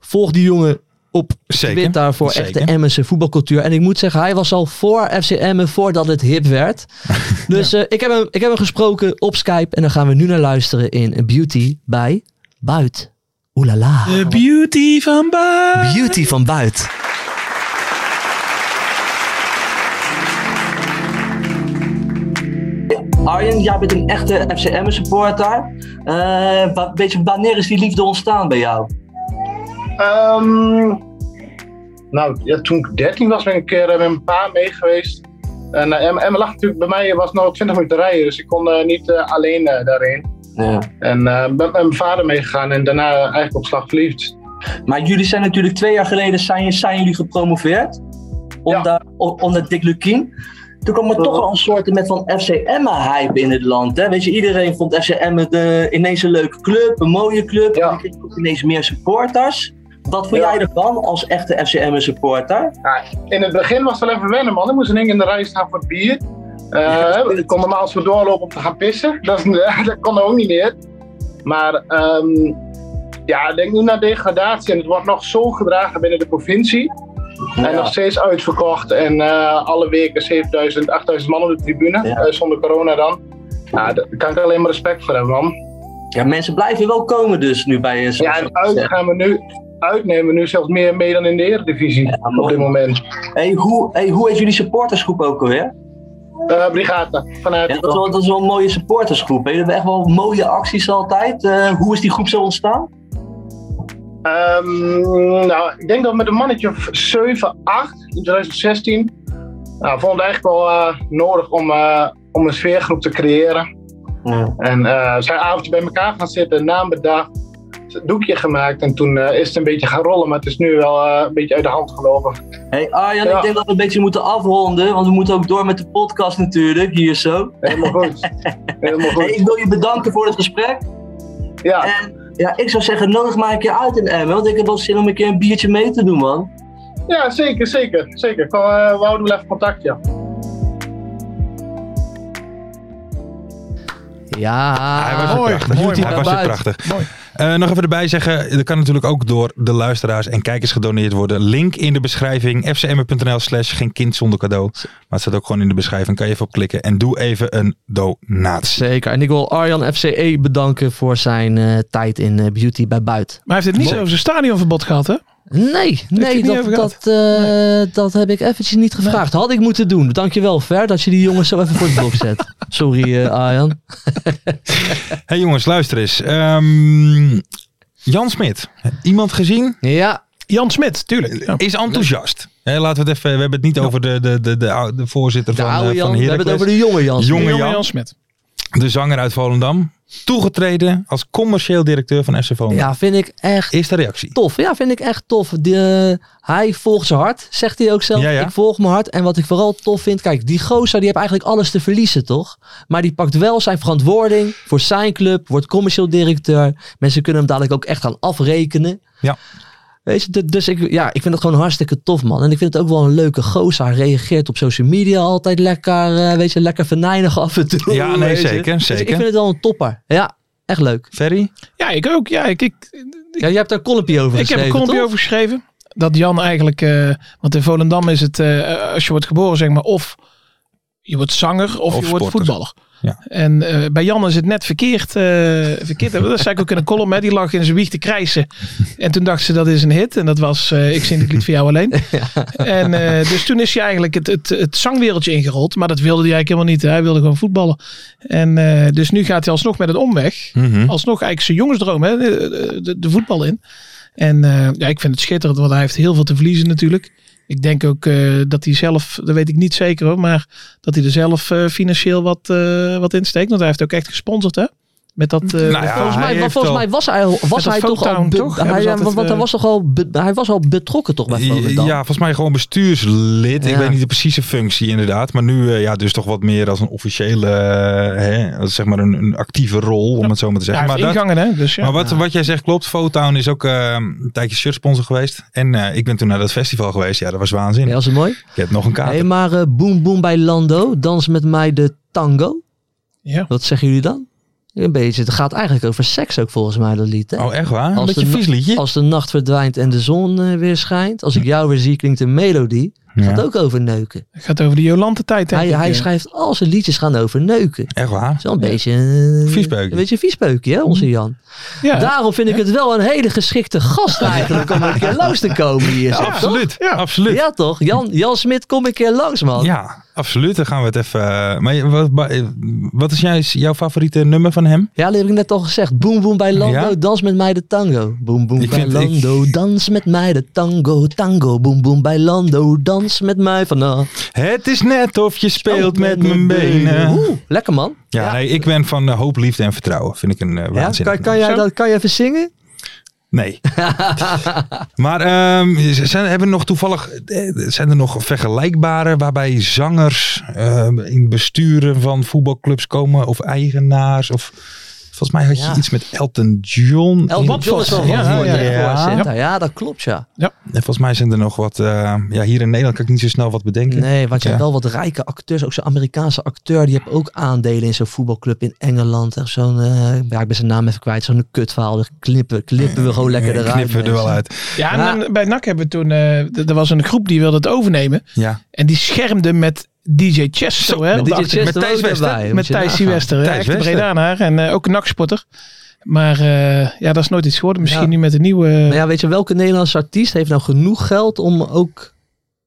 Volg die jongen op Zeker, Twitter voor zeker. echte Emmense voetbalcultuur. En ik moet zeggen, hij was al voor FC Emmen voordat het hip werd. dus eh, ik, heb hem, ik heb hem gesproken op Skype. En dan gaan we nu naar luisteren in Beauty bij Buit. Oelala. De beauty van Baan. Beauty van Buit. Arjen, jij bent een echte FCM supporter. Eh, wa- weet je, wanneer is die liefde ontstaan bij jou? Ehm, nou, ja, toen ik 13 was, ben ik een keer eh, met mijn pa mee geweest. En eh, Emma Emma lag natuurlijk bij mij, eh, was nog 20 minuten rijden, dus ik kon eh, niet eh, alleen eh, daarheen. Ja. En eh, ben met mijn vader meegegaan en daarna eh, eigenlijk op slag verliefd. Maar jullie zijn natuurlijk twee jaar geleden zijn, zijn jullie gepromoveerd. Onder, o- onder Dick Lukien. Toen kwam er toch al een soort met van FCM-hype in het land. Hè? Weet je, iedereen vond FCM de, ineens een leuke club, een mooie club. Ja. Dan kreeg je ook ineens meer supporters. Wat vond Ja. jij ervan als echte FCM supporter? Nou, In het begin was het wel even wennen, man. Ik moest in één keer in de rij staan voor bier. Eh, ik kon normaal als we doorlopen om te gaan pissen. Dat, is- dat kon ook niet meer. Maar ehm, ja, denk nu naar degradatie. En het wordt nog zo gedragen binnen de provincie. En nog steeds uitverkocht. En eh, alle weken 7000, 8000 man op de tribune. Ja. eh, zonder corona dan. Ja, daar kan ik alleen maar respect voor hebben, man. Ja, mensen blijven wel komen dus nu bij een Ja, en uit gaan we nu. Uitnemen we nu zelfs meer mee dan in de Eredivisie op mooi. dit moment. Hey, hoe, hey, hoe heet jullie supportersgroep ook alweer? Eh brigade, vanuit. Ja, dat, is wel, dat is wel een mooie supportersgroep. hè. Jullie hebben echt wel mooie acties altijd. Eh, hoe is die groep zo ontstaan? Ehm, nou, ik denk dat we met een mannetje of 7, 8 in 2016. Nou, vonden we het eigenlijk wel eh, nodig om, eh, om een sfeergroep te creëren. Ja. En eh, zijn avondje bij elkaar gaan zitten, naam bedacht, doekje gemaakt. En toen eh, is het een beetje gaan rollen, maar het is nu wel eh, een beetje uit de hand gelopen. Hey Arjan, Ja. ik denk dat we een beetje moeten afronden. Want we moeten ook door met de podcast natuurlijk, hier zo. Helemaal goed. Helemaal Hey, goed. ik wil je bedanken voor het gesprek. Ja, En ja, ik zou zeggen, nodig maar een keer uit in Emmen. Want ik heb wel zin om een keer een biertje mee te doen, man. ja zeker, zeker. zeker. Kom, eh, we houden wel even contact, ja. Ja, Oh. hij was Ah, mooi, weer prachtig. mooi, hij mooi. was weer Buit. prachtig. Eh, nog even erbij zeggen, er kan natuurlijk ook door de luisteraars en kijkers gedoneerd worden. Link in de beschrijving, fcm.nl slash geen kind zonder cadeau. Maar het staat ook gewoon in de beschrijving, kan je even op klikken. En doe even een donatie. Zeker. En ik wil Arjan FCE bedanken voor zijn eh, tijd in eh, Beauty bij Buit. Maar hij heeft het niet over zijn stadionverbod gehad, hè? Nee, nee, niet dat, over gehad? dat, eh, dat heb ik eventjes niet gevraagd. Had ik moeten doen. Dankjewel, Ver, dat je die jongens zo even voor het blok zet. Sorry, eh, Arjan. hey jongens, luister eens. Ehm, Jan Smit, iemand gezien? Ja, Jan Smit, tuurlijk. Ja. is enthousiast. Hè, laten we het even. We hebben het niet over de, de, de, de, oude- de voorzitter de van, eh, oude nou, Jan. van We hebben het Heracles. over de jonge Jan. Jonge Jonge Jan, Jan Smit. de zanger uit Volendam, toegetreden als commercieel directeur van FC Volendam. Ja, vind ik echt Is de reactie? tof. Ja, vind ik echt tof. De, hij volgt zijn hart, zegt hij ook zelf. Ja, ja. Ik volg mijn hart. En wat ik vooral tof vind, kijk, die gozer die heeft eigenlijk alles te verliezen, toch? Maar die pakt wel zijn verantwoording voor zijn club, wordt commercieel directeur. Mensen kunnen hem dadelijk ook echt gaan afrekenen. Ja. Weet je, du- dus ik, ja, ik vind het gewoon hartstikke tof, man. En ik vind het ook wel een leuke gozer. Hij reageert op social media altijd lekker, eh, weet je, lekker venijnig af en toe. Ja, nee, weet je. zeker, Dus ik zeker. vind het wel een topper. Ja, echt leuk. Ferry? Ja, ik ook. Ja, ik, ik, Ja, jij hebt daar een columnpje over Ik heb een geschreven, column toch? over geschreven. Dat Jan eigenlijk, eh, want in Volendam is het, eh, als je wordt geboren zeg maar, of je wordt zanger of, Of je wordt sporter. voetballer. Ja. En eh, bij Jan is het net verkeerd. eh, verkeerd. Dat zei ik ook in een column, hè. die lag in zijn wieg te krijsen. En toen dacht ze dat is een hit. En dat was eh, Ik zing dit lied voor jou alleen. En eh, dus toen is hij eigenlijk het, het, het zangwereldje ingerold. Maar dat wilde hij eigenlijk helemaal niet. Hij wilde gewoon voetballen. En eh, dus nu gaat hij alsnog met een omweg Mhm. Hm? alsnog eigenlijk zijn jongensdroom, hè, de, de, de voetbal in. En eh, ja, ik vind het schitterend, want hij heeft heel veel te verliezen natuurlijk. Ik denk ook eh, dat hij zelf, dat weet ik niet zeker hoor, maar dat hij er zelf eh, financieel wat, eh, wat in steekt. Want hij heeft ook echt gesponsord hè. Met dat, eh, Nou ja, volgens hij mij, want heeft volgens al- mij was hij, al- was dat hij toch al. Fotown, be- toch? Hebben Hij, ze ja, want altijd, want hij, eh, was toch al be- hij was al betrokken toch bij Volendam? Ja, volgens mij gewoon bestuurslid. Ik Ja. weet niet de precieze functie inderdaad. Maar nu eh, ja, dus toch wat meer als een officiële, eh, hè, als zeg maar een, een actieve rol, om het zo maar te ja, zeggen. hij heeft maar dat- ingangen, hè? Dus ja. maar wat, wat jij zegt klopt. Fotown is ook eh, een tijdje shirtsponsor geweest. En eh, ik ben toen naar dat festival geweest. Ja, dat was waanzin. Ja, was het mooi? Ik heb nog een kaart. Hey, maar eh, boom boom bij Lando, dans met mij de tango. ja. Wat zeggen jullie dan? Een beetje. Het gaat eigenlijk over seks ook volgens mij dat lied. Hè? oh, echt waar? Een Als beetje de- vies liedje. Als de nacht verdwijnt en de zon eh, weer schijnt. Als ik jou weer zie, klinkt een melodie. Ja. Gaat ook over neuken. Het gaat over de Jolante-tijd. denk Hij, ik, eh. hij ja. schrijft al zijn liedjes gaan over neuken. Het Echt waar? is wel een beetje... eh, Viespeukje. Een beetje een viespeukje, hè, Mm. onze Jan. Ja. Daarom vind ik het wel een hele geschikte gast eigenlijk om een keer langs te komen hier. zeg, toch? absoluut. Ja. absoluut. Ja. Ja toch? Jan, Jan Smit, kom een keer langs man. absoluut. Dan gaan we het even. eh, Maar je- wat, maar, eh, wat is jij, jouw favoriete nummer van hem? Ja, dat heb ik net al gezegd. Boom, boom bij Lando, Ja? dans met mij de tango. Boom, boom Ik bij vind- Lando, dans met mij de tango. Tango, boom, boom bij Lando, dans met mij nou, vanaf. Het is net of je speelt Oh, met mijn benen. Oeh, lekker man. Ja, nee, ik ben van eh, hoop, liefde en vertrouwen. Vind ik een eh Ja? waanzinnig Kan, kan, jij Zo. dat, kan jij even zingen? Nee. maar ehm, zijn, hebben we nog toevallig, eh, zijn er nog vergelijkbare waarbij zangers ehm, in besturen van voetbalclubs komen of eigenaars? Of, volgens mij had je Ja. iets met Elton John. Elton Wat John is was- wel ja, van voor ja, de ja. voorzitter. Ja, dat klopt ja. En volgens mij zijn er nog wat, eh, ja hier in Nederland kan ik niet zo snel wat bedenken. Nee, want je Ja. hebt wel wat rijke acteurs. Ook zo'n Amerikaanse acteur, die heeft ook aandelen in zo'n voetbalclub in Engeland. Echt Zo'n, eh, ja, ik ben zijn naam even kwijt. Zo'n kutverhaal. Dat Knippen, knippen we gewoon lekker Eh, eruit. knippen we er wel mensen. uit. Ja, en Ja. dan bij NAC hebben we toen... eh, d- er was een groep die wilde het overnemen. Ja. En die schermde met DJ Chesto. hè, op de Met achtergrond. DJ Chester Thijs ook West, hè? erbij, moet Met je Thijs nagaan. Wester, Thijs echt een Wester. Bredanaar en eh, ook een nakspotter. Maar eh, ja, dat is nooit iets geworden. Misschien Ja. nu met een nieuwe... eh, Maar ja, weet je, welke Nederlandse artiest heeft nou genoeg geld om ook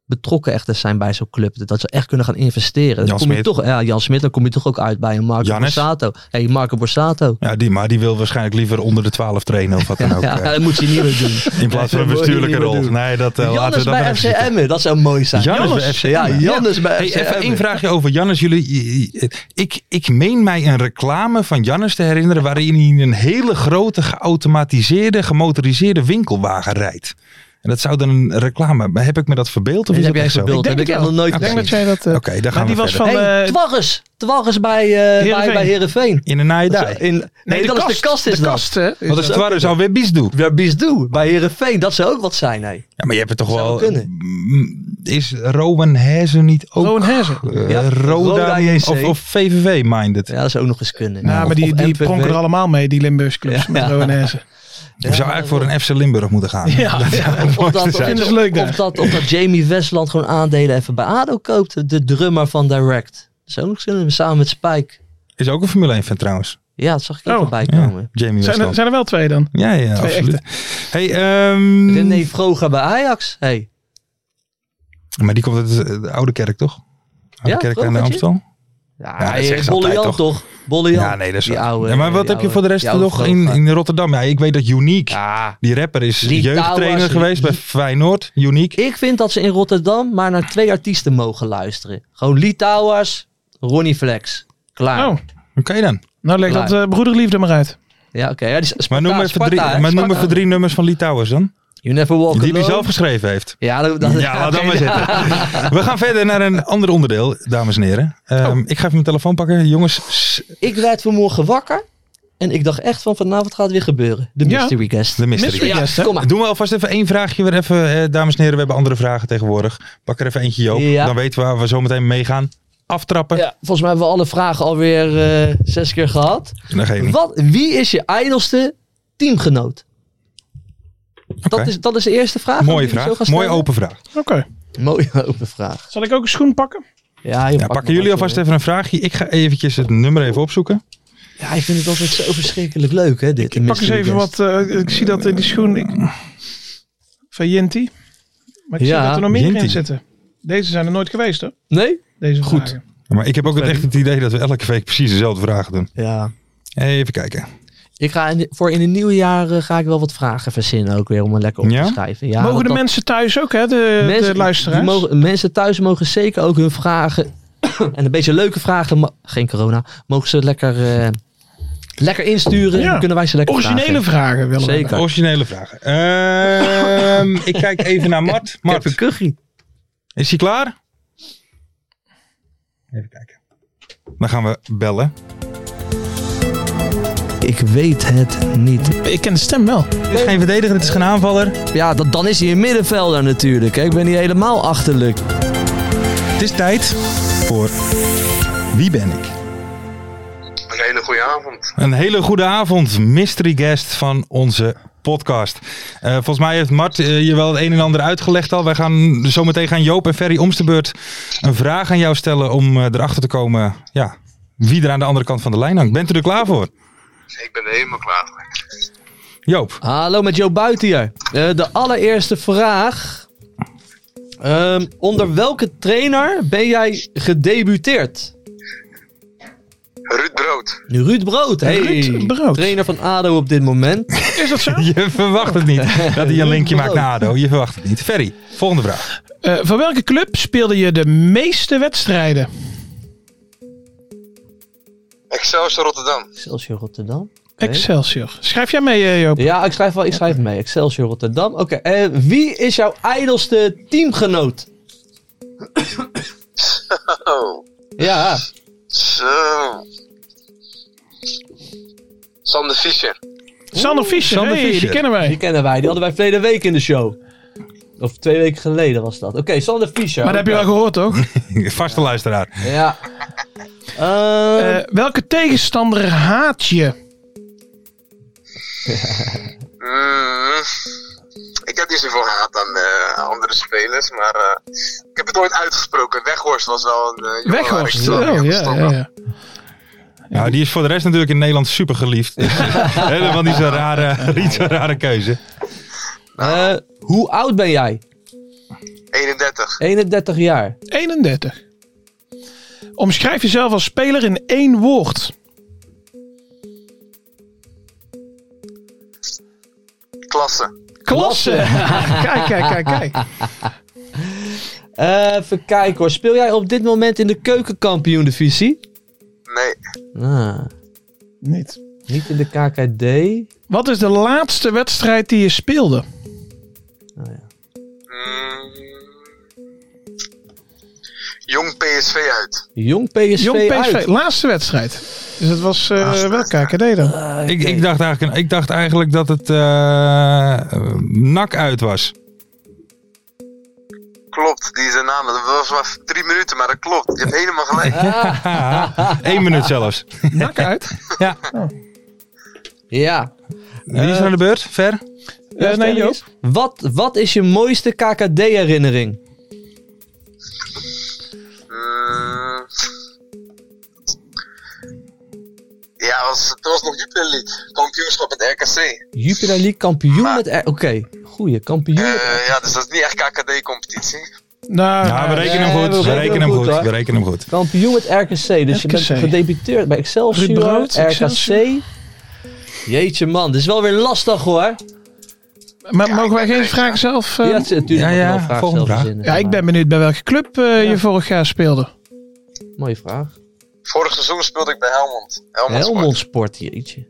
betrokken echt te zijn bij zo'n club? Dat ze echt kunnen gaan investeren. Dan Jan kom je Smit. Toch, ja, Jan Smit, dan kom je toch ook uit bij een Marco Jannes. Borsato. hey, Marco Borsato. Ja, die, maar die wil waarschijnlijk liever onder de 12 trainen of wat dan ook. ja, eh, dat moet je niet meer doen. in plaats van een dat moet je bestuurlijke niet meer rol. doen. Nee, dat eh, laten we Jannes dat maar bij even FC zitten. Emmen, dat zou mooi zijn. Jannes bij FC Ja, Emmen. Jannes bij Hey, eh, FC even Emmen. één vraagje over Jannes. Jullie, eh, ik, ik meen mij een reclame van Jannes te herinneren waarin hij een hele grote geautomatiseerde, gemotoriseerde winkelwagen rijdt. En dat zou dan een reclame, maar heb ik me dat verbeeld of is Nee, dat dat heb echt jij zo? verbeeld. denk heb het ik echt wel. nog nooit ik denk dat gezien. jij dat... eh, Oké, daar gaan maar die we was verder. van... Hey, eh, Twarres. Twarres bij, eh bij, Heerenveen. bij Heerenveen. In een naaidaai. In, nee, de dat is kast. de kast is De dat. kast, hè? Want als het ware zou weer bies doen. Ja, Bisdou, bij Heerenveen, dat zou ook wat zijn. hè. Ja, maar je hebt het toch Zou wel... kunnen. Mm, Is Rowan Hezen niet ook Rowan Hezen. eh, Ja, Roda, Roda JC. of, of VVV-minded? Ja, dat zou ook nog eens kunnen. Nou, maar die, Of die MPV. pronken er allemaal mee, die Limburgse clubs. Ja. Met Rowan Hezen. Je zou eigenlijk voor een FC Limburg moeten gaan. Ja. Dat zou het Of dat, mooiste of, zijn. Vinden ze dus leuk daar. of dat, of dat Jamie Westland gewoon aandelen even bij ADO koopt. De drummer van Direct. Zo kunnen we samen met Spike. Is ook een Formule 1 fan trouwens. Ja, dat zag ik ook Oh, voorbij Ja, komen. Jamie Zijn er, Westland. zijn er wel twee dan? Ja, ja, Twee absoluut. Hey, ehm, René Vroga bij Ajax. Hey. Maar die komt uit eh, de Oude Kerk, toch? Oude Ja, Kerk aan de Vrogertje. Amstel? Ja, dat hey, zeggen ze Bolle altijd, Jan toch? toch? Bolle Jan. Ja, nee, dat is Die wel- oude- Ja, Maar wat die heb je oude- voor de rest die oude nog in, Vroga. in Rotterdam? Ja, ik weet dat Unique, die rapper, is Lee jeugdtrainer Towers, geweest bij Lee- Feyenoord. Unique. Ik vind dat ze in Rotterdam maar naar twee artiesten mogen luisteren. Gewoon Lee Towers, Ronnie Flex. Klaar. Oh, Oké dan. nou leg dat eh, broederliefde maar uit. Ja, oké. Ja, die is Maar Sparta- noem even drie, Sparta, hè? maar noem Sparta. even drie nummers van Lee Towers dan. You never walk Die hij alone. zelf geschreven heeft. Ja, dat, dat, Ja, laat dat maar zitten. We gaan verder naar een ander onderdeel, dames en heren. Oh. Ehm, Ik ga even mijn telefoon pakken. Jongens, s- Ik werd vanmorgen wakker en ik dacht echt van vanavond gaat het weer gebeuren. De Ja. mystery guest. de mystery. Mystery guest, hè? Kom maar. Doen we alvast even één vraagje weer even, eh, dames en heren. We hebben andere vragen tegenwoordig. Pak er even eentje, Joop. Ja. Dan weten we waar we zo meteen mee gaan. Aftrappen. Ja, volgens mij hebben we alle vragen alweer eh, zes keer gehad. Dan geef ik. Wat, wie is je ijdelste teamgenoot? Dat, is, dat is de eerste vraag. Mooie die we zo gaan vraag. stellen. Mooie open vraag. Oké. Mooie open vraag. Zal ik ook een schoen pakken? Ja, je Ja, pakt pakken me jullie ook, alvast hoor. even een vraagje. Ik ga eventjes het nummer even opzoeken. Ja, ik vind het altijd zo verschrikkelijk leuk hè, dit. de Ik pak eens mystery even guest. wat. eh, ik zie dat in die schoen. Ik, van Jinti. Maar ik Ja, zie dat er nog meer Jinti. in zitten. Deze zijn er nooit geweest, hoor. Nee? Deze Goed. vragen. Maar ik heb ook het echt het idee dat we elke week precies dezelfde vragen doen. Ja. Even kijken. Ik ga in, voor in het nieuwe jaar eh, ga ik wel wat vragen verzinnen ook weer om het lekker op Ja? te schrijven. Ja, mogen want de dat- mensen thuis ook, hè? De, de luisteraars. die mogen- mensen thuis mogen zeker ook hun vragen. en een beetje leuke vragen. ma- Geen corona. Mogen ze lekker eh, Lekker insturen, Ja. dan kunnen wij ze lekker Originele vragen. vragen willen we. Zeker. Originele vragen. Ehm, ik kijk even naar Mart. Ik heb een Mart, kuchie. is hij klaar? Even kijken. Dan gaan we bellen. Ik weet het niet. Ik ken de stem wel. Het is geen verdediger, het is geen aanvaller. Ja, dat, dan is hij een middenvelder natuurlijk. Hè. Ik ben niet helemaal achterlijk. Het is tijd voor Wie ben ik? Een hele goede avond. Een hele goede avond, mystery guest van onze podcast. Eh, volgens mij heeft Mart eh, je wel het een en ander uitgelegd al. Wij gaan zometeen gaan Joop en Ferry Omstebeurt een vraag aan jou stellen om eh, erachter te komen ja, wie er aan de andere kant van de lijn hangt. Bent u er klaar voor? Ik ben er helemaal klaar voor. Joop, Hallo met Joe Buiten hier. Eh, de allereerste vraag. Ehm, onder welke trainer ben jij gedebuteerd? Ruud Brood. Ruud Brood. Hey, Ruud Brood. Trainer van ADO op dit moment. Is dat zo? je verwacht het niet dat hij een linkje maakt naar ADO. Je verwacht het niet. Ferry, volgende vraag. Eh, voor welke club speelde je de meeste wedstrijden? Excelsior Rotterdam. Excelsior Rotterdam. Excelsior. Schrijf jij mee, eh, Joop? Ja, ik schrijf wel. Ik schrijf mee. Excelsior Rotterdam. Oké. eh, wie is jouw ijdelste teamgenoot? Oh, Ja. zo. Sander Fischer. Sander Fischer. Sander hey, Die Fischer. kennen wij. Die kennen wij. Die hadden wij verleden week in de show. Of twee weken geleden was dat. Oké, Sander Fischer. Maar dat heb je wel gehoord, toch? Vaste luisteraar. Ja. Eh, Eh, welke tegenstander haat je? Mm, ik heb niet zoveel haat aan eh, andere spelers, maar eh, ik heb het ooit uitgesproken. Weghorst was wel een uh, Weghorst. Oh, ja, ja, ja. Nou, die is voor de rest natuurlijk in Nederland super geliefd. Dus, helemaal niet zo'n rare, niet zo'n rare keuze. eh, hoe oud ben jij? 31. 31 jaar. 31. Omschrijf jezelf als speler in één woord. Klasse. Klasse. kijk, kijk, kijk, kijk. Eh, even kijken hoor. Speel jij op dit moment in de keukenkampioen-divisie? Nee. Ah, Niet. niet in de KKD. Wat is de laatste wedstrijd die je speelde? Mm. jong PSV uit. Jong PSV, Jong PSV. uit. Laatste wedstrijd. Dus dat was eh, wel KKD dan. Ik, Ah, ik, dacht eigenlijk, ik dacht eigenlijk dat het eh, eh, nak uit was. Klopt, die is een naam. Dat was maar drie minuten, maar dat klopt. Je hebt helemaal gelijk. Eén minuut zelfs. Nak uit. Ja. Ja. Wie is er aan de beurt? Ver? Eh, nee, Joop. Wat, wat is je mooiste KKD-herinnering? Mm. Ja, het was, het was nog Jupiler League. Kampioenschap met RKC. Jupiler League kampioen Maar- met... R- Oké, goeie. Kampioen. Eh, ja, dus dat is niet echt KKD-competitie. Nou, Ja, we eh, rekenen hem goed. We rekenen hem goed. We rekenen hem goed. Kampioen met RKC. Dus je bent RKC. gedebuteerd bij Excelsior, Ruud Brood, RKC. Excelsior. Eh, Jeetje man, dit is wel weer lastig hoor. maar mogen wij geen vraag zelf? eh, ja, ja, het is natuurlijk ja, nog ja, een vraag volgende zelf vraag. verzinnen. ik ben Maar- benieuwd bij welke club eh, je vorig jaar speelde. Mooie vraag. Vorig seizoen speelde ik bij Helmond. Helmond. Sport. Helmond Sport, jeetje.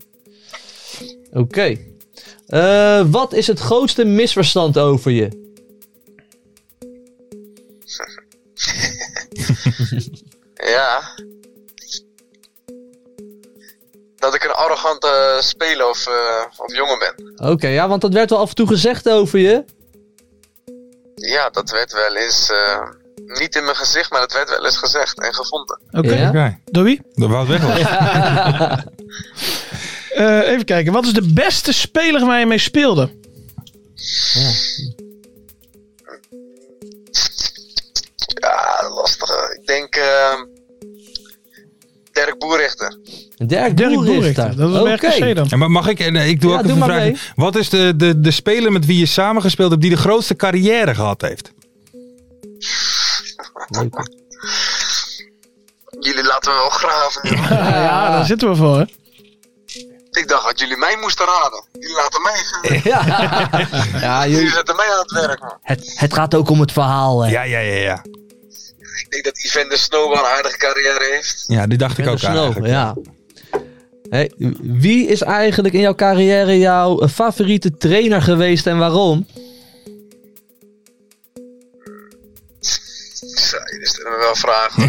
Oké. Eh, wat is het grootste misverstand over je? Ja. Dat ik een arrogante speler of, eh, of jongen ben. Oké, ja, want dat werd wel af en toe gezegd over je. Ja, dat werd wel eens. eh, niet in mijn gezicht, maar dat werd wel eens gezegd en gevonden. Oké. Ja? Oké. Door wie? Dat wou het weg was. Eh, even kijken. Wat is de beste speler waar je mee speelde? Ja, lastig. Ik denk. ehm, eh Dirk Boerichter. Dirk, Dirk Boerichter. Boerichter. Dat was Oké. bij RKC dan. Ja, maar mag ik? eh, Ik doe Ja, ook even doe een maar vraagje. mee. Wat is de, de, de speler met wie je samengespeeld hebt die de grootste carrière gehad heeft? Leuk. Jullie laten me wel graven. Ja, Ah, daar zitten we voor. Hè? Ik dacht dat jullie mij moesten raden. Jullie laten mij. Ja, ja Jullie joh. zetten mij aan het werk, man. Het, het gaat ook om het verhaal. Hè. Ja, ja, ja. Ja, Ik denk dat Yvan de Snow wel een aardige carrière heeft. ja die dacht ik Met ook de snow, eigenlijk. ja. Hey, wie is eigenlijk in jouw carrière jouw favoriete trainer geweest en waarom? Zij, dit is wel een vraag hoor.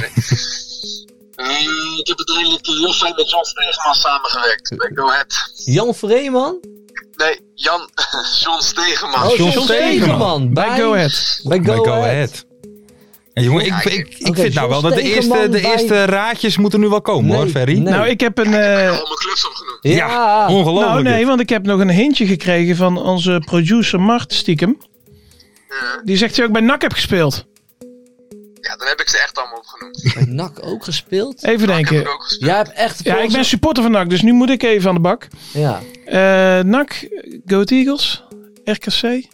Eh, ik heb uiteindelijk eh, heel fijn met Jan Stegeman samengewerkt. Bij Go Ahead. Jan Vreeman? Nee, Jan, John Stegeman. Oh, John Stegeman. Ah, Bij Go Ahead. Bij Go, Bij Go Ahead. Ahead. En jongen, ik, ik, ik Oké, vind nou wel dat de John eerste, Stegeman de bij- eerste raadjes moeten nu wel komen Nee, hoor, Ferry. nee. Nou, ik heb een... eh, Al mijn clubs opgenoemd. Ja. Ja, ongelooflijk. Nou nee, dit. want ik heb nog een hintje gekregen van onze producer Mart stiekem. Die zegt dat je ook bij NAC hebt gespeeld. Ja, dan heb ik ze echt allemaal opgenoemd. Bij NAC ook gespeeld. Even Ik heb er denken. ook gespeeld. Jij hebt echt... Ja, ik ben volgens- supporter van NAC, dus nu moet ik even aan de bak. Ja. Eh NAC, Go Ahead Eagles, RKC.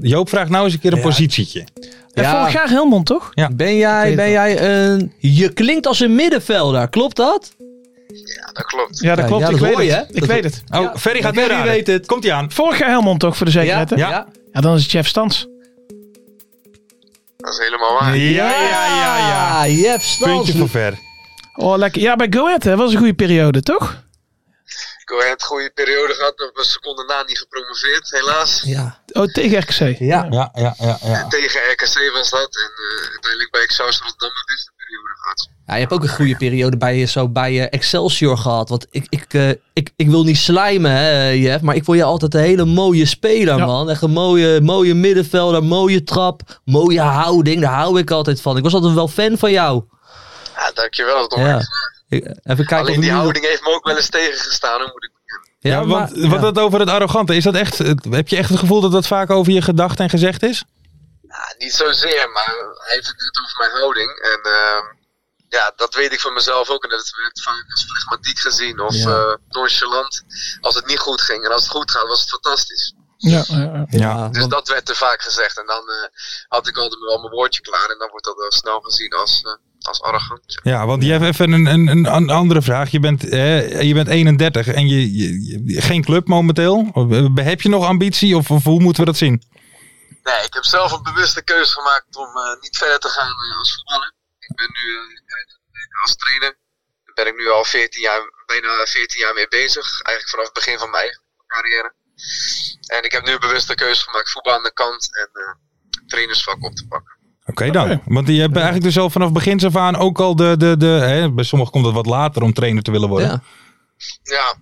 Joop vraagt nou eens een keer een positietje. En Ja. vorig jaar Helmond, toch? Ben Ik jij, weet ben jij een... Je klinkt als een middenvelder, klopt dat? Ja, dat klopt. Ja, dat Ja, klopt. ja, dat ik hoor weet je, het. hè? Ik Dat- weet het. Oh, Ferry gaat weer Ferry raden. weet het. Komt hij aan. Vorig jaar Helmond, toch, voor de zekerheid, hè? ja. ja. Ja, dan is het Jeff Stans. Dat is helemaal waar. Ja, ja, ja, ja. Ah, Jef Stans. Puntje voor ver. Oh, lekker. Ja, bij Go Ahead, hè. was een goede periode, toch? Go Ahead, goede periode gehad. Op een seconde na niet gepromoveerd, helaas. Ja. Oh, tegen RKC. Ja. Ja, ja, ja, ja. Tegen RKC was dat. En eh, uiteindelijk bij Exhaust Rotterdam heb ik de periode gehad. Ja, je hebt ook een goede periode bij, eh, zo bij eh, Excelsior gehad. Want ik, ik, eh, ik, ik wil niet slijmen, hè, Jeff. Maar ik vond je altijd een hele mooie speler, Ja. man. Echt een mooie, mooie middenvelder, mooie trap, mooie houding. Daar hou ik altijd van. Ik was altijd wel fan van jou. Ja, dankjewel. Toch? Ja. Ik- Even kijken of Alleen die nu- houding heeft me ook wel eens tegengestaan, hoor, moet ik bekennen. Ja, Ja, want maar- wat ja. dat over het arrogante, is dat echt, het- heb je echt het gevoel dat dat vaak over je gedacht en gezegd is? Ja, niet zozeer, maar hij heeft het net over mijn houding. En ehm, ja, dat weet ik van mezelf ook. En dat werd vaak als flegmatiek gezien of Ja. eh, nonchalant. Als het niet goed ging. En als het goed gaat, was het fantastisch. Ja, ja, ja. Ja, Dus want- dat werd er vaak gezegd. En dan eh, had ik altijd wel mijn woordje klaar. En dan wordt dat eh, snel gezien als, eh, als arrogant. ja. Ja, want je hebt even een, een, een an- andere vraag. Je bent, eh, je bent 31 en je, je- je- geen club momenteel. Of, eh, Heb je nog ambitie of, of hoe moeten we dat zien? Nee, ik heb zelf een bewuste keuze gemaakt om eh, niet verder te gaan eh, als voetballer. Ik ben nu eh, als trainer. Daar ben ik nu al 14 jaar, bijna 14 jaar mee bezig. Eigenlijk vanaf het begin van mijn eigen carrière. En ik heb nu een bewuste keuze gemaakt. Voetbal aan de kant en eh, trainersvak op te pakken. Oké dan. Want je hebt eigenlijk dus al vanaf begins af aan ook al de... de, de hè, bij sommigen komt het wat later om trainer te willen worden. ja. Ja,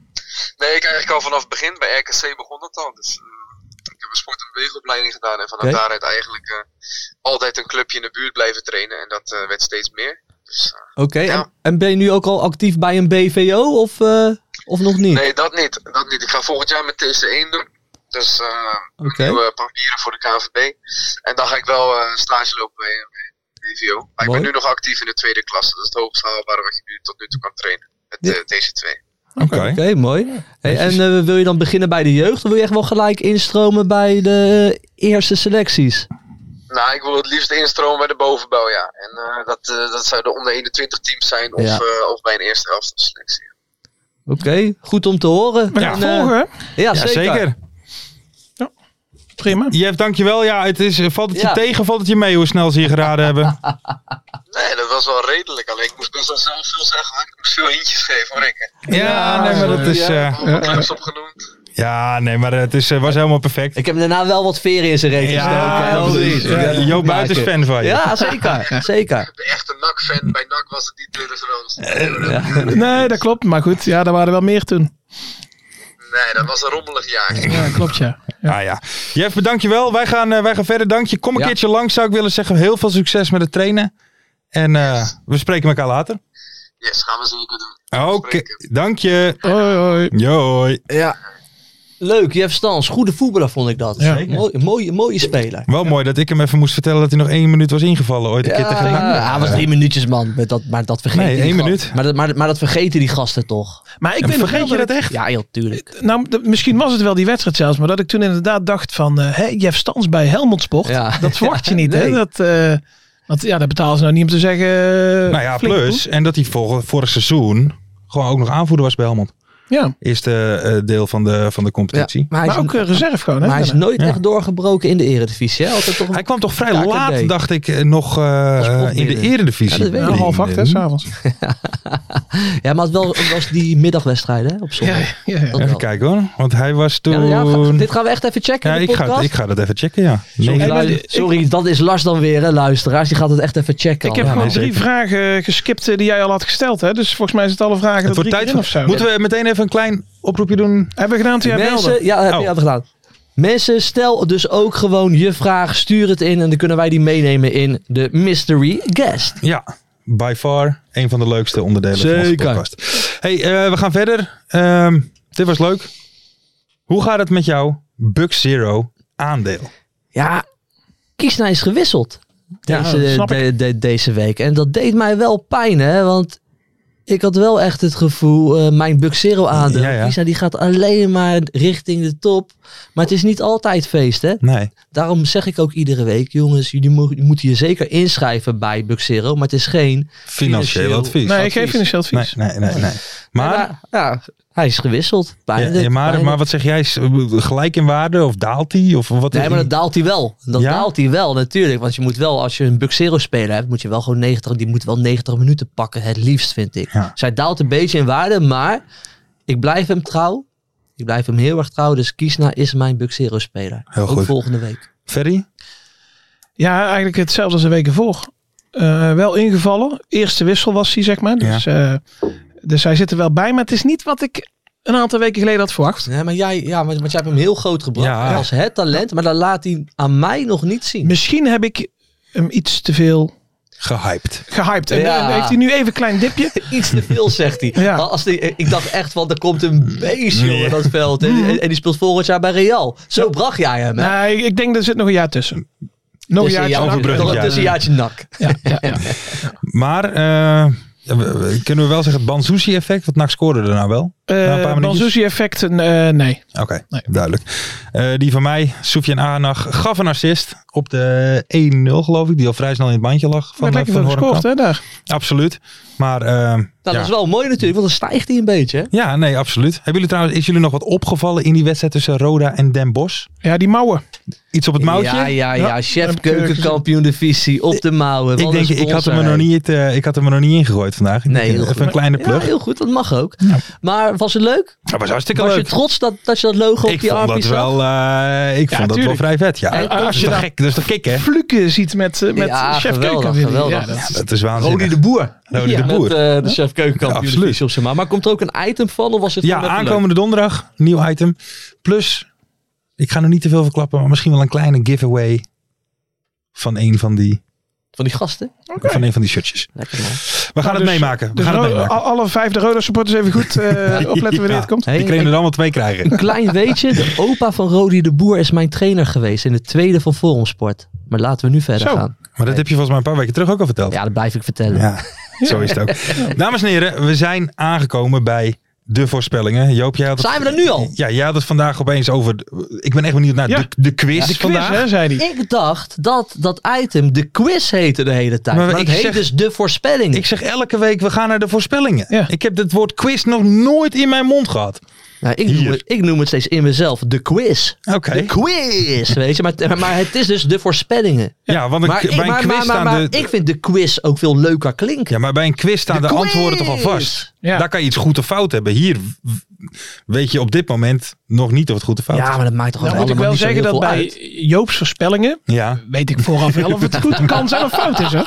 nee, ik eigenlijk al vanaf het begin. Bij RKC begon dat al. Dus eh, ik heb een sport- en beweegopleiding gedaan. En vanaf Oké. daaruit eigenlijk eh, altijd een clubje in de buurt blijven trainen. En dat eh, werd steeds meer. Dus eh, Oké, Ja. en, en ben je nu ook al actief bij een BVO of, eh, of nog niet? Nee, dat niet. Dat niet. Ik ga volgend jaar met TC1 doen. Dus eh Oké. nieuwe papieren voor de KNVB. En dan ga ik wel eh, stage lopen bij eh, bij DVO. Maar Mooi. ik ben nu nog actief in de tweede klasse. Dat is het hoogst haalbare wat je nu tot nu toe kan trainen. Met Ja. eh, deze twee. Oké. Oké, mooi. Hey, en eh, wil je dan beginnen bij de jeugd of wil je echt wel gelijk instromen bij de eh, eerste selecties? Nou, ik wil het liefst instromen bij de bovenbouw, ja. En eh, dat, eh, dat zou de onder 21 teams zijn of, Ja. eh, of bij een eerste helft selectie. Oké, goed om te horen. We gaan En, eh, volgen, hè? Ja, Ja, zeker. zeker. Prima. Jeff, dankjewel. Ja, het is, eh, valt het je Ja. tegen, valt het je mee hoe snel ze je geraden hebben? Nee, dat was wel redelijk. Alleen ik moest best wel zelf veel zeggen. hoor. Ik moest veel hintjes geven, hoor ik. Ja, nee, maar dat is... eh, Allemaal clubs opgenoemd. ja, nee, maar het is, eh, was helemaal perfect. Ik heb daarna wel wat veren in zijn reet ja, gestoken. precies. Ja, Joop Buit is fan van je. Ja, zeker. zeker. De echte NAC-fan. Bij NAC was het niet dus Dennis Roos. Nee, dat klopt. Maar goed, ja, er waren wel meer toen. Nee, dat was een rommelig jaar. Ja, klopt, ja. Ja, Ah, ja. Jeff, bedankt je wel. Wij gaan, eh, wij gaan verder. Dank je. Kom een Ja. keertje langs, zou ik willen zeggen. Heel veel succes met het trainen. En eh, we spreken elkaar later. Yes, gaan we zeker doen. Oké, Spreken. dank je. Hoi, hoi. Joi. Leuk, Jeff Stans. Goede voetballer vond ik dat. Ja. Mooi, mooie, mooie speler. Wel mooi dat ik hem even moest vertellen dat hij nog één minuut was ingevallen ooit een Ja, keer tegen ja, hij was drie minuutjes man. Maar dat, maar dat vergeten Nee, die één gasten. minuut. Maar dat, maar, maar dat vergeten die gasten toch? Maar ik En weet nog vergeet je wel dat dat echt? Ja, heel tuurlijk. ik- Nou, d- misschien was het wel die wedstrijd zelfs, maar dat ik toen inderdaad dacht van, eh hé, Jeff Stans bij Helmond Sport. Ja. Dat verwacht je niet, Nee. hè? Dat, eh, want ja, dat betalen ze nou niet om te zeggen... eh, Nou ja, flinke plus. En dat hij vorig, vorig seizoen gewoon ook nog aanvoerder was bij Helmond. poep. Ja. Eerste eh, deel van de, van de competitie. Ja, maar hij is- Maar ook, eh, reserve gewoon, hè? Maar hij is nooit echt doorgebroken in de Eredivisie. Hè? Altijd toch hij kwam toch vrij KKD. laat, dacht ik, eh, nog eh, in de popbidder. Eredivisie. Ja, dat weet ik. Half acht, hè, s'avonds. Ja, maar het wel, het was die middagwedstrijden hè, op zondag. Ja, ja. Dat Even wel. kijken hoor, want hij was toen... Ja, ja, ga- dit gaan we echt even checken. Ja, in de ik ga, podcast. ik ga dat even checken, ja. Sorry, Nee, lu- sorry, dat is Lars dan weer, hè, luisteraars. Die gaat het echt even checken. Ik heb allemaal. gewoon drie vragen geskipt eh, die jij al had gesteld. Hè? Dus volgens mij is het alle vragen Het dat wordt drie tijd keer in voor- of zo. Moeten we meteen even een klein oproepje doen? Hebben we gedaan toen jij Mensen, belde? ja, heb Oh. je dat gedaan. Mensen, stel dus ook gewoon je vraag. Stuur het in en dan kunnen wij die meenemen in de mystery guest. Ja, by far een van de leukste onderdelen van onze Zeker. podcast. hey, eh, we gaan verder. Ehm, dit was leuk. Hoe gaat het met jou Buck Zero aandeel? Ja, Kiesna is gewisseld Ja, deze, snap ik. de- de- deze week. En dat deed mij wel pijn, hè. Want ik had wel echt het gevoel, eh, mijn Buxero aandeel. Ja, ja. Kiesna die gaat alleen maar richting de top. Maar het is niet altijd feest, hè. Nee. Daarom zeg ik ook iedere week, jongens, jullie mo- moeten je zeker inschrijven bij Buxero. Maar het is geen Financieel advies. Nee, ik geef financieel Nee, advies. nee, nee. nee. Maar, Ja, hij is gewisseld. Pijn, ja, ja, maar, maar wat zeg jij? Is, eh, Gelijk in waarde of daalt hij? Of wat Nee, maar dat daalt hij wel. Dat Ja? daalt hij wel, natuurlijk. Want je moet wel, als je een Buxero speler hebt, moet je wel gewoon 90, die moet wel 90 minuten pakken. Het liefst, vind ik. Ja. Zij daalt een beetje in waarde, maar ik blijf hem trouw. Ik blijf hem heel erg trouw. Dus Kiesna is mijn Buxero speler. Heel Ook goed. volgende week. Ferry? Ja, eigenlijk hetzelfde als de weken voor. Eh, wel ingevallen. Eerste wissel was hij, zeg maar. Dus, eh, dus hij zit er wel bij. Maar het is niet wat ik een aantal weken geleden had verwacht. Nee, maar jij, ja, want want jij hebt hem heel groot gebracht. Ja. Hij was het talent, maar dat laat hij aan mij nog niet zien. Misschien heb ik hem iets te veel Gehyped. gehyped. En Ja. eh, heeft hij nu even een klein dipje. Iets te veel, zegt hij. Ja. Al- Als die, ik dacht echt, want er komt een beest jongen, Nee. dat veld. Mm. En, en die speelt volgend jaar bij Real. Zo bracht jij hem. Nou, Hè? Nee, ik denk er zit nog een jaar tussen. Nog een Tussen jaartje. jaartje- overbruggen, nog ja. een tussenjaartje nak. Nou, Eh, Maar eh, ja, we- we- kunnen we wel zeggen het Bansushi-effect? Want NAC scoorde er nou wel. Na een paar Eh minuutjes? Banzuzi-effect, eh, nee. Oké, Nee. duidelijk. Eh, die van mij, Soefjan Anag, gaf een assist op de 1-0 geloof ik. Die al vrij snel in het bandje lag. Van, Van, eh, lekker van veel gescoord, Horenkamp. hè, daar. Absoluut. Maar eh, Nou, ja. dat is wel mooi natuurlijk, want dan stijgt hij een beetje. hè? ja, nee, absoluut. Hebben jullie trouwens, is jullie nog wat opgevallen in die wedstrijd tussen Roda en Den Bosch? Ja, die mouwen. Iets op het mouwtje? Ja, ja, ja. Ja, Chef heb ik, eh, keukenkampioen divisie op de mouwen. Ik Wat denk, een ik had, hem er sponsor, nog hè. niet, eh, ik had hem er nog niet ingegooid vandaag. Ik dus Nee, denk, eh, heel even goed. een kleine Ja, plug. heel goed, dat mag ook. Maar was het leuk? dat was hartstikke was leuk. je trots dat, dat je dat logo op Ik die vond armpje dat zag? wel, eh, ik Ja, vond dat wel tuurlijk. vrij vet. Ja, En dat, als is je toch nou- gek, dat is toch gek, hè? Fluken ziet met, eh, met Ja, chef geweldig, Keuken. geweldig. Ja, dat Ja, is- Dat is waanzinnig. Rodi de Boer. Rodi de Boer. Met eh, de chef keukenkampioen Ja, absoluut. divisie op zijn mouw. Maar komt er ook een item van? Of was het Ja, gewoon even leuk? aankomende donderdag. Nieuw item. Plus, ik ga nog niet te veel verklappen, maar misschien wel een kleine giveaway van een van die, Van die gasten? van een van die shirtjes. Lekker man. We gaan het dus- meemaken. We Dus gaan het nou, Ro- eh, meemaken. al- alle vijf de Roda supporters even goed eh, opletten wanneer Ja. het komt. Hey, Die kunnen er allemaal twee krijgen. Een klein weetje. De opa van Rodi de Boer is mijn trainer geweest in de tweede van Forum Sport. Maar laten we nu verder Zo. gaan. Maar dat heb je volgens mij een paar weken terug ook al verteld. Ja, dat blijf ik vertellen. Ja, zo is het ook. Dames en heren, we zijn aangekomen bij de voorspellingen. Joop, jij had het, Zijn we er nu al? ja, jij had het vandaag opeens over... Ik ben echt benieuwd naar Ja. de, de quiz De quiz, vandaag. hè, zei hij. Ik dacht dat dat item de quiz heette de hele tijd. Maar Maar, ik het heet zeg- dus de voorspelling. Ik zeg elke week, we gaan naar de voorspellingen. Ja. Ik heb het woord quiz nog nooit in mijn mond gehad. nou, ik, noem hier. het, ik noem het steeds in mezelf de quiz. Oké. De quiz, weet je. Maar, maar het is dus de voorspellingen. Ja, want een, Maar, ik, bij een maar, quiz maar, maar, staan maar de... ik vind de quiz ook veel leuker klinken. ja, maar bij een quiz staan de, De antwoorden toch al quiz! vast. Ja. Daar kan je iets goed of fout hebben. Hier w- weet je op dit moment nog niet of het goed of fout Ja, is. maar dat maakt toch Dan allemaal Nou, moet ik wel niet zo heel zeggen dat veel bij uit. Joop's voorspellingen Ja. weet ik vooraf wel of het goed kan zijn of fout is. Hè?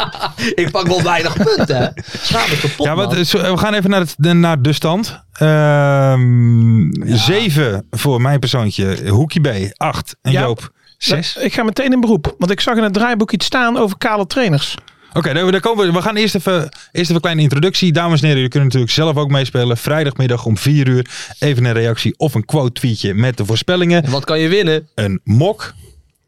Ik pak wel weinig punten. hè. Schaam me kapot, Ja, man. want, eh, zo- we gaan even naar, het, de- naar de stand. Ehm, Zeven voor mijn persoontje. Hoekie B, acht. En Ja. Joop, zes. Ik ga meteen in beroep, want ik zag in het draaiboek iets staan over kale trainers. Oké, daar, daar komen we. We gaan eerst even, eerst even een kleine introductie. Dames en heren, jullie kunnen natuurlijk zelf ook meespelen. Vrijdagmiddag om 4 uur. Even een reactie of een quote tweetje met de voorspellingen. En Wat kan je winnen? Een mok.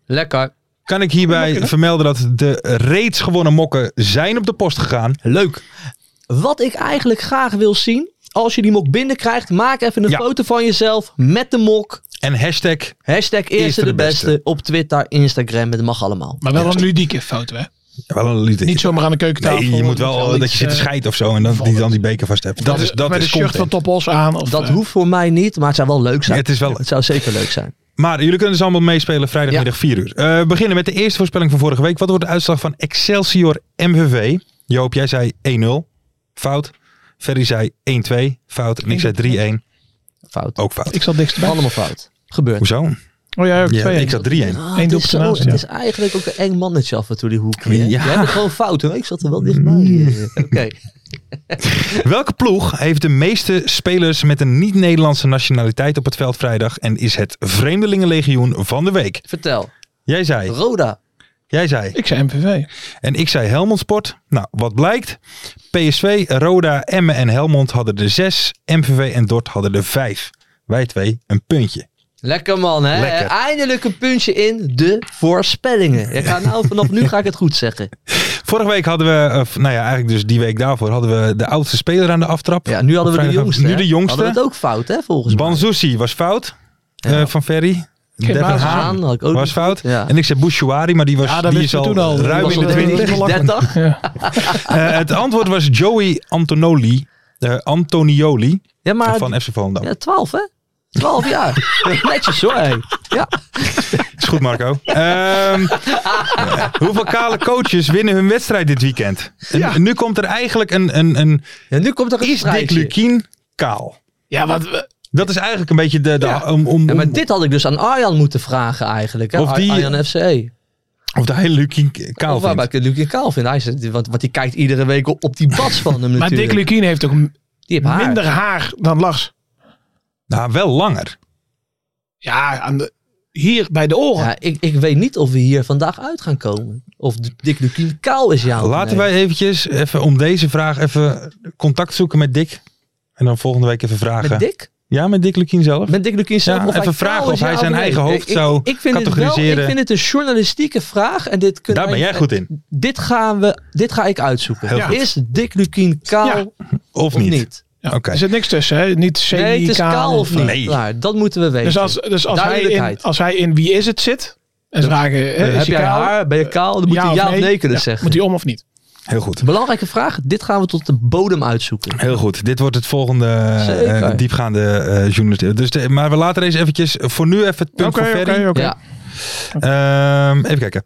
Lekker. Kan ik hierbij vermelden dat de reeds gewonnen mokken zijn op de post gegaan. Leuk. Wat ik eigenlijk graag wil zien, als je die mok binnenkrijgt, maak even een Ja. foto van jezelf met de mok. En hashtag, Hashtag eerste, de, beste. op Twitter, Instagram, het mag allemaal. Maar wel een ludieke foto, hè? Wel een liter. Niet zomaar aan de keukentafel. Nee, je moet wel dat je zit te eh, scheiden of zo en dan, die, dan die beker vast hebt. Dat met- is, dat met is een shirt content. van Topos aan. Of, Dat eh, hoeft voor mij niet, maar het zou wel leuk zijn. Het is wel Het zou zeker leuk zijn. Maar jullie kunnen dus allemaal meespelen vrijdagmiddag 4 uur. Eh, we beginnen met de eerste voorspelling van vorige week. Wat wordt de uitslag van Excelsior MVV? Joop, jij zei 1-0. Fout. Ferry zei 1-2. Fout. En ik zei 3-1. Fout. Ook fout. Ik zat dichterbij. Allemaal fout. Gebeurt. Hoezo? Oh ja, ook Ja, twee. ik zat 3-1. Ah, Eén het, is doelpunt zo- ernaast, het ja. is eigenlijk ook een eng mannetje af en toe die hoek. hè? Ja. Mm. Je hebt er gewoon fout hoor. Ik zat er wel dichtbij. eh. Oké. Welke ploeg heeft de meeste spelers met een niet-Nederlandse nationaliteit op het veld vrijdag? En is het Vreemdelingenlegioen van de week? Vertel. Jij zei. Roda. Jij zei. Ik zei MVV. En ik zei Helmond Sport. Nou, wat blijkt? PSV, Roda, Emmen en Helmond hadden de zes. MVV en Dort hadden de vijf. Wij twee een puntje. Lekker man, hè? Eh, Lekker. Eindelijk een puntje in de voorspellingen. Ik ga nou, vanaf nu ga ik het goed zeggen. Vorige week hadden we, of, nou ja, eigenlijk dus die week daarvoor, hadden we de oudste speler aan de aftrap. Ja, nu hadden we de Vrijdag- jongste. eh, Nu hè? de jongste. Hadden we het ook fout, hè? Volgens mij. Banzouzi was fout eh, van Ferry. Devin basis Haan aan, had ik ook was niet. fout. Ja. En ik zei Bouchouari, maar die, was, Ja, dat die is wisten we al, toen al. ruim Die in de was al- 20. die is 30. Eh, het antwoord was Joey Antonoli. eh, Antonioli Ja, maar van FC Volendam. ja, 12, hè? 12 jaar. Netjes hoor. hé. Ja. Is goed, Marco. Ehm, eh, hoeveel kale coaches winnen hun wedstrijd dit weekend? En Nu komt er eigenlijk een... een, een ja, nu komt er een is Dick strijdje. Lukien kaal? Ja, wat, we- Dat is eigenlijk een beetje de... de om, om, Ja, maar om- dit had ik dus aan Arjan moeten vragen eigenlijk. Hè? Of Ar- die- eh, Arjan FCE. Of de hele Lukien kaal Of waar vindt. ik Lukien kaal vind. Hij is, want, want die kijkt iedere week op, op die bas van hem maar natuurlijk. Dick Lukien heeft ook die heeft haar. minder haar dan Lars. Nou, wel langer. Ja, aan de, hier bij de Oh. oren. Ja, ik, ik weet niet of we hier vandaag uit gaan komen. Of D- Dick Lukien kaal is jou. Laten wij eventjes, even om deze vraag, even contact zoeken met Dick. En dan volgende week even vragen. Met Dick? Ja, met Dick Lukien zelf. Met Dick Lukien zelf? Ja, of hij even vragen kaal is, of hij ja zijn nee? eigen hoofd Ik- ik- zou ik vind het wel- categoriseren. ik vind het een journalistieke vraag. En dit kunnen Daar ben wij- jij goed in. Dit, gaan we, dit ga ik uitzoeken. Heel goed. Is Dick Lukien kaal Ja, of Of niet? niet? Ja, oké. Er zit niks tussen, hè? Niet semi Nee, het is kaal of niet. Nee. Klaar, dat moeten we weten. Dus als, dus als, hij in, Duidelijkheid. als hij in Wie is het zit, en ze vragen, hè, Eh, is heb je jij kaal? haar? Ben je kaal? Dan moet hij ja of nee, kunnen Ja, zeggen. Moet hij om of niet? Heel goed. Belangrijke vraag. Dit gaan we tot de bodem uitzoeken. Heel goed. Dit wordt het volgende Zeker. eh, diepgaande eh journalist. Dus de- maar we laten deze eventjes voor nu even het punt Oké, voor Ferry. oké, oké. Ja, Ehm, even kijken.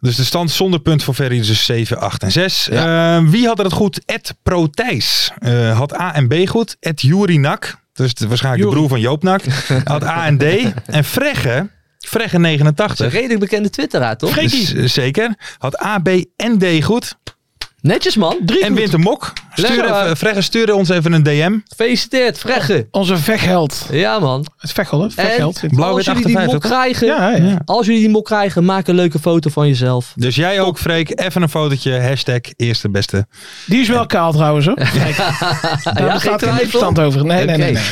Dus de stand zonder punt voor Ferry is dus 7, 8 en 6. Ehm, wie had er het goed? Ed Protijs eh, had A en B goed. Ed Jury Nak, dus de- waarschijnlijk de Jury. broer van Joop Nak, had A en D. En Fregge, Fregge dat is een 89, redelijk bekende twitteraar, toch? dus, eh, zeker, had A, B en D goed. Netjes, man. Drie En wint een mok. Stuur Lekker. even, Fregge stuurde ons even een DM. Gefeliciteerd, Fregge. Onze vegheld. Ja, man. Het vegheld, hè? En Vegheld. Blauw-wit Oh. als jullie die 58. mok krijgen, Ja, ja, ja. als jullie die mok krijgen, maak een leuke foto van jezelf. Dus jij ook, Freek. Even een fotootje. Hashtag eerste beste. Die is wel kaal trouwens, hoor. Ah, Daar bestaat geen verstand over. Nee, nee, nee. Oké. nee.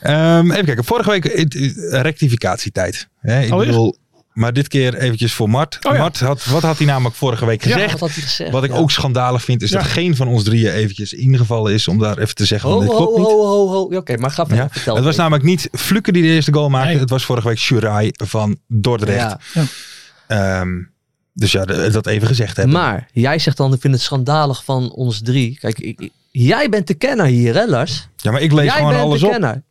Ehm, even kijken. Vorige week eh, eh, rectificatietijd. Hè, ik Alweer? bedoel, maar dit keer eventjes voor Mart. Oh ja. Mart had, wat had hij namelijk vorige week Ja, gezegd? wat had hij gezegd? Wat ik Ja. ook schandalig vind, is Ja. dat geen van ons drieën eventjes ingevallen is om daar even te zeggen. van Ho, dit klopt ho, niet. ho, ho, ho. Ja, Oké, maar ga verder. Ja. Oh, Vertel Het was even. namelijk niet Fluke die de eerste goal maakte. Nee. Het was vorige week Shurai van Dordrecht. Ja. Ehm, dus ja, de- dat even gezegd hebben. Maar jij zegt dan, ik vind het schandalig van ons drie. Kijk, ik, ik- jij bent de kenner hier, hè Lars? ja, maar ik lees jij gewoon bent alles de op. kenner.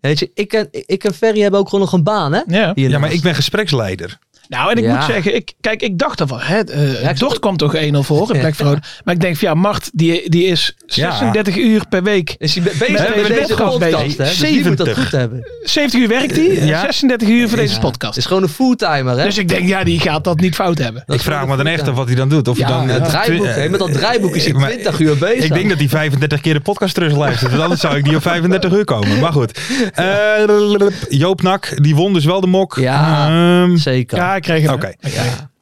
Weet je, ik en, ik en Ferry hebben ook gewoon nog een baan, hè? Ja. Hiernaast. Ja, maar ik ben gespreksleider. Nou, en ik Ja. moet zeggen, ik, kijk, ik dacht ervan, hè, eh Ja, ik Dort zat- kwam toch 1-0 voor in plek van Roda. Maar ik denk van, ja, Mart, die, die is 36 uur per week. Is hij be- bezig hebben met een deze podcast podcast, bezig. hè? Dus die moet dat 70. goed hebben. Het 70 uur werkt hij, en Ja. 36 uur voor deze is podcast. gewoon een fulltimer, hè? Dus ik denk, ja, die gaat dat niet fout hebben. Dat ik vraag me gewoon dan een echt af fulltimer. wat hij dan doet. Of hij Ja, dan, het eh, draaiboek, twi- hè? Met dat draaiboek is hij maar- 20 uur bezig. Ik denk dat hij 35 keer de podcast terug luistert. want Anders zou ik niet op 35 uur komen. Maar goed. Eh, Joop Nak, die won dus wel de mok. Ja. Ehm, Zeker. Ja, Ja, ik kreeg hem. Oké.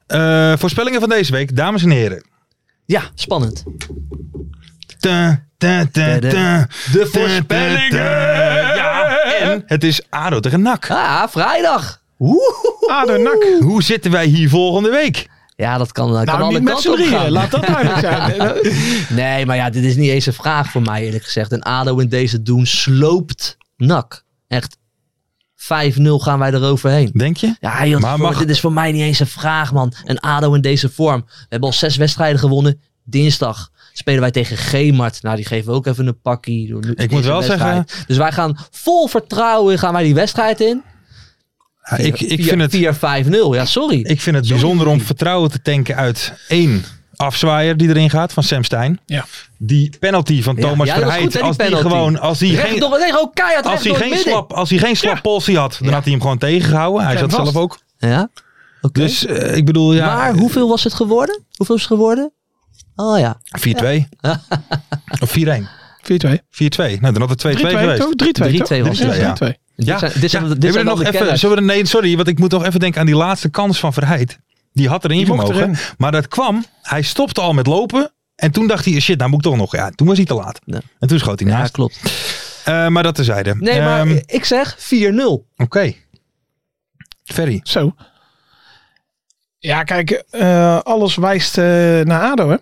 Eh, voorspellingen van deze week, dames en heren. spannend. Ta, ta, ta, ta. De voorspellingen! Ja, en het is ADO tegen NAC. Ah, vrijdag. Woehoe. ADO NAC. Hoe zitten wij hier volgende week? Ja, dat kan, dat kan Nou, alle niet met kanten z'n op drieën. gaan. Laat dat duidelijk zijn. Eh, Nee, maar ja, dit is niet eens een vraag voor mij eerlijk gezegd. Een ADO in deze doen sloopt nak. Echt gaan wij eroverheen. Denk je? Ja, joh, Maar voor- mag- dit is voor mij niet eens een vraag, man. Een ADO in deze vorm. We hebben al zes wedstrijden gewonnen. Dinsdag spelen wij tegen Gemart. Nou, die geven we ook even een pakkie. Door nu- Ik moet deze wel wedstrijd. zeggen- Dus wij gaan vol vertrouwen gaan wij die wedstrijd in. Ja, Ah, ik, ik Via- vind het, 4-5-0, ja sorry. ik vind het bijzonder om vertrouwen te tanken uit één afzwaaier die erin gaat van Sam Stein. Ja. Die penalty van Ja, Thomas ja, dat was Verheid. goed, hè, die als die penalty. gewoon, als die Recht geen, door, nee, gewoon keihard als recht hij door het geen midden. slap, als hij geen slap polsie had, dan had hij hem gewoon tegengehouden. Hij Ja, zat vast. zelf ook. Ja, oké. Dus eh, ik bedoel, ja, maar hoeveel was het geworden? Hoeveel is het geworden? Oh ja. 4-2. of 4-1. 4-2. 4-2. Nou, dan had het 2-2 3-2 geweest. toch? 3-2 toch? 3-2 was het, ja. Dit zijn, dit 3-2. zijn, Ja, hebben dit zijn we er dan de nog even, kenners. zullen we er- nee, sorry, want ik moet nog even denken aan die laatste kans van Verheid. Die had erin Die mocht gemogen. Maar dat kwam, hij stopte al met lopen. En toen dacht hij, shit, nou moet ik toch nog. Ja, toen was hij te laat. Ja. En toen schoot hij Ja, naast. klopt. Eh, maar dat terzijde. Nee, maar Ehm, ik zeg 4-0. Oké. Ferry. Zo. Ja, kijk, eh, alles wijst eh, naar ADO, hè?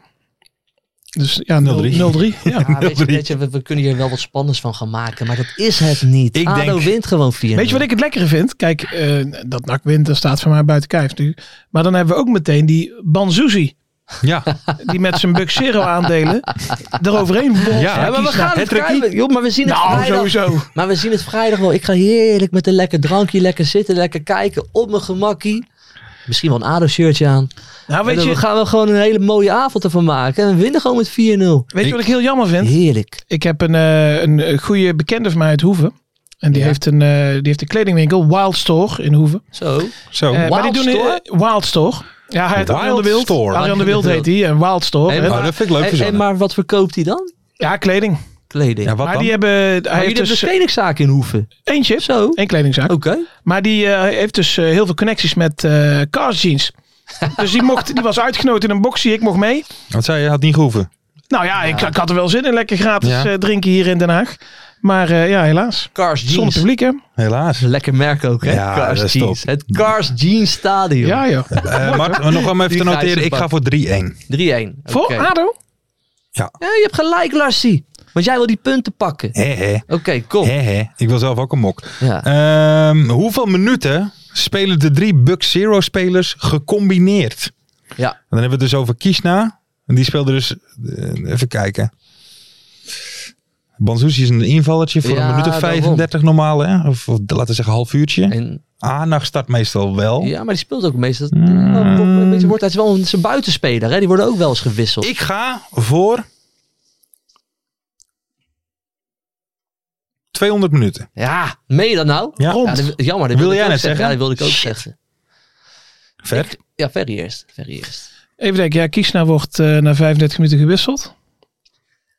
Dus ja, 0-3. 0-3. ja. Ja, weet je, 0-3. weet je, we, we kunnen hier wel wat spannends van gaan maken, maar dat is het niet. Ik ADO denk- wint gewoon 4 Weet je wat ik het lekkere vind? Kijk, eh, dat NAC wint, dat staat voor mij buiten kijf nu. Maar dan hebben we ook meteen die Banzuzi. Ja, Die met zijn Buxero aandelen eroverheen vervolgens. Ja, Ja, maar we kies nou. gaan het Het trekkie. vrijdag... Joh, maar we zien het Nou, vrijdag... sowieso. Maar we zien het vrijdag wel. Ik ga heerlijk met een lekker drankje, lekker zitten, lekker kijken, op mijn gemakkie. Misschien wel een ADO-shirtje aan. Nou, En weet dan je, gaan we gewoon een hele mooie avond ervan maken. En we winnen gewoon met 4-0. weet je wat ik heel jammer vind? Heerlijk. Ik heb een, eh, een eh, goede bekende van mij uit Hoeven. En die, Ja. heeft een, eh, die heeft een kledingwinkel, Wild Store in Hoeven. Zo. zo. Eh, maar Wild die doen Store? eh, Wild Store. Ja, hij heet Wild Arjan de Wild. Store. Arjan de Wild heet die. En Wild Store. Hey, hè. maar- Oh, dat vind ik leuk Hey, verzonnen. hey, maar wat verkoopt hij dan? ja, kleding. Kleding. ja, wat maar dan? die hebben... maar Hij jullie heeft hebben dus een kledingzaak in Hoeven. eentje. Zo. Oh. Oké. Eén kledingzaak. Maar die eh, heeft dus eh, heel veel connecties met eh Cars Jeans. dus die, mocht, die was uitgenodigd in een boxie. Ik mocht mee. Want zij had niet gehoeven. Nou ja, Ik, ik had er wel zin in. Lekker gratis Ja. eh, drinken hier in Den Haag. Maar eh, ja, helaas. Cars Zonder Jeans. publiek, hè? Helaas. Lekker merk ook, hè? Ja, Cars dat is Jeans. top. Het Cars Jeans Stadion. Ja, joh. Eh, Mart, nog om even Die te grijze noteren. Ik bak. ga voor 3-1. 3-1. Voor Oké. ADO? Ja, je hebt gelijk, Larsie. Want jij wil die punten pakken. Hé, hé. Oké, kom. Hé, hé. Ik wil zelf ook een mok. Ja. Ehm, hoeveel minuten spelen de drie Bucks Zero spelers gecombineerd? Ja. En dan hebben we het dus over Kiesna. En die speelde dus, eh, even kijken. Banzuzi is een invallertje voor Ja, een minuut of daarom. 35 normaal. Hè? Of, of laten we zeggen half uurtje. En, Aanag start meestal wel. ja, maar die speelt ook meestal. Mm. Een beetje wordt, hij is wel een, is een buitenspeler. Hè? Die worden ook wel eens gewisseld. Ik ga voor 200 minuten. ja, meen je dat nou? Ja. Ja, dat- jammer, dat Wil wilde ik jij ook net zeggen? Ja, dat wilde ik ook Shit. zeggen. Ver. Ja, Ferry eerst. Ferry eerst. Even denken. Ja, Kiesna wordt eh, na 35 minuten gewisseld.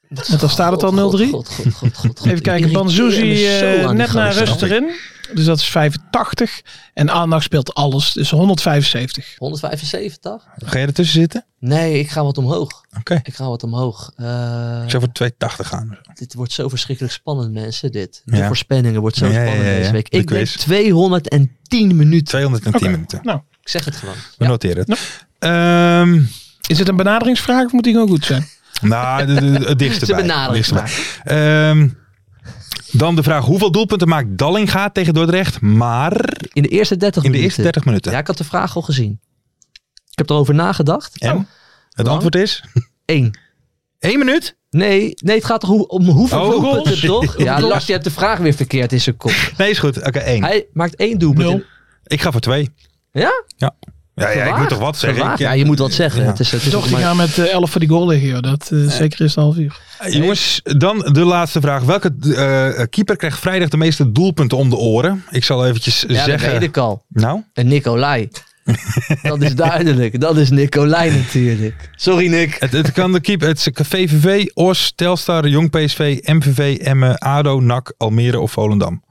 Want dan staat het al 0-3. God, God, God, God, God. Even kijken, Ik irriteer Banzuzi me zo eh, aan die net na gozer. rust erin. Dus dat is 85. En aandacht speelt alles, dus 175. 175? Ga jij ertussen zitten? Nee, ik ga wat omhoog. Oké. Ik ga wat omhoog. Eh, Ik zou voor 280 gaan. dit wordt zo verschrikkelijk spannend, mensen. Dit. De Ja. voorspellingen wordt zo Ja, ja, spannend ja, ja. deze week. De Ik denk quiz. 210 minuten. 210 Oké. minuten. Nou, Ik zeg het gewoon. We Ja. noteren het. Nou. Ehm, is het een benaderingsvraag of moet die gewoon goed zijn? nou, de- de- de- het dichtste Ze bij. Het benaderen dichtste bij. het. Ehm, dan de vraag: hoeveel doelpunten maakt Dallinga tegen Dordrecht? Maar In de eerste 30 in de minuten. eerste 30 minuten. Ja, ik had de vraag al gezien. Ik heb erover nagedacht. En het antwoord is Oh. Eén. 1 minuut. Nee, nee, het gaat toch hoe- om hoeveel Oh, doelpunten, shit. toch? Ja, Hoeveel- Lars, je hebt de vraag weer verkeerd in zijn kop. Nee, is goed. Oké, 1. Hij maakt één doelpunt. Nul. Ik ga voor 2. Ja? Ja, ja, ik Gewaagd. moet toch wat zeggen? Gewaagd. Ik- Ja, je moet wat zeggen. Ja. Het is, het is Toch, nog die maar- gaan met eh, 11 voor die goal liggen, joh. Dat eh, zeker is het half uur. Eh, Jongens, dan de laatste vraag. Welke eh, keeper krijgt vrijdag de meeste doelpunten om de oren? Ik zal eventjes ja, zeggen. dat weet ik al. Nou, En Nicolai. dat is duidelijk. Dat is Nicolai natuurlijk. Sorry, Nick. het, het kan de keeper. Het is VVV, Os, Telstar, Jong PSV, MVV, Emmen, ADO, NAC, Almere of Volendam.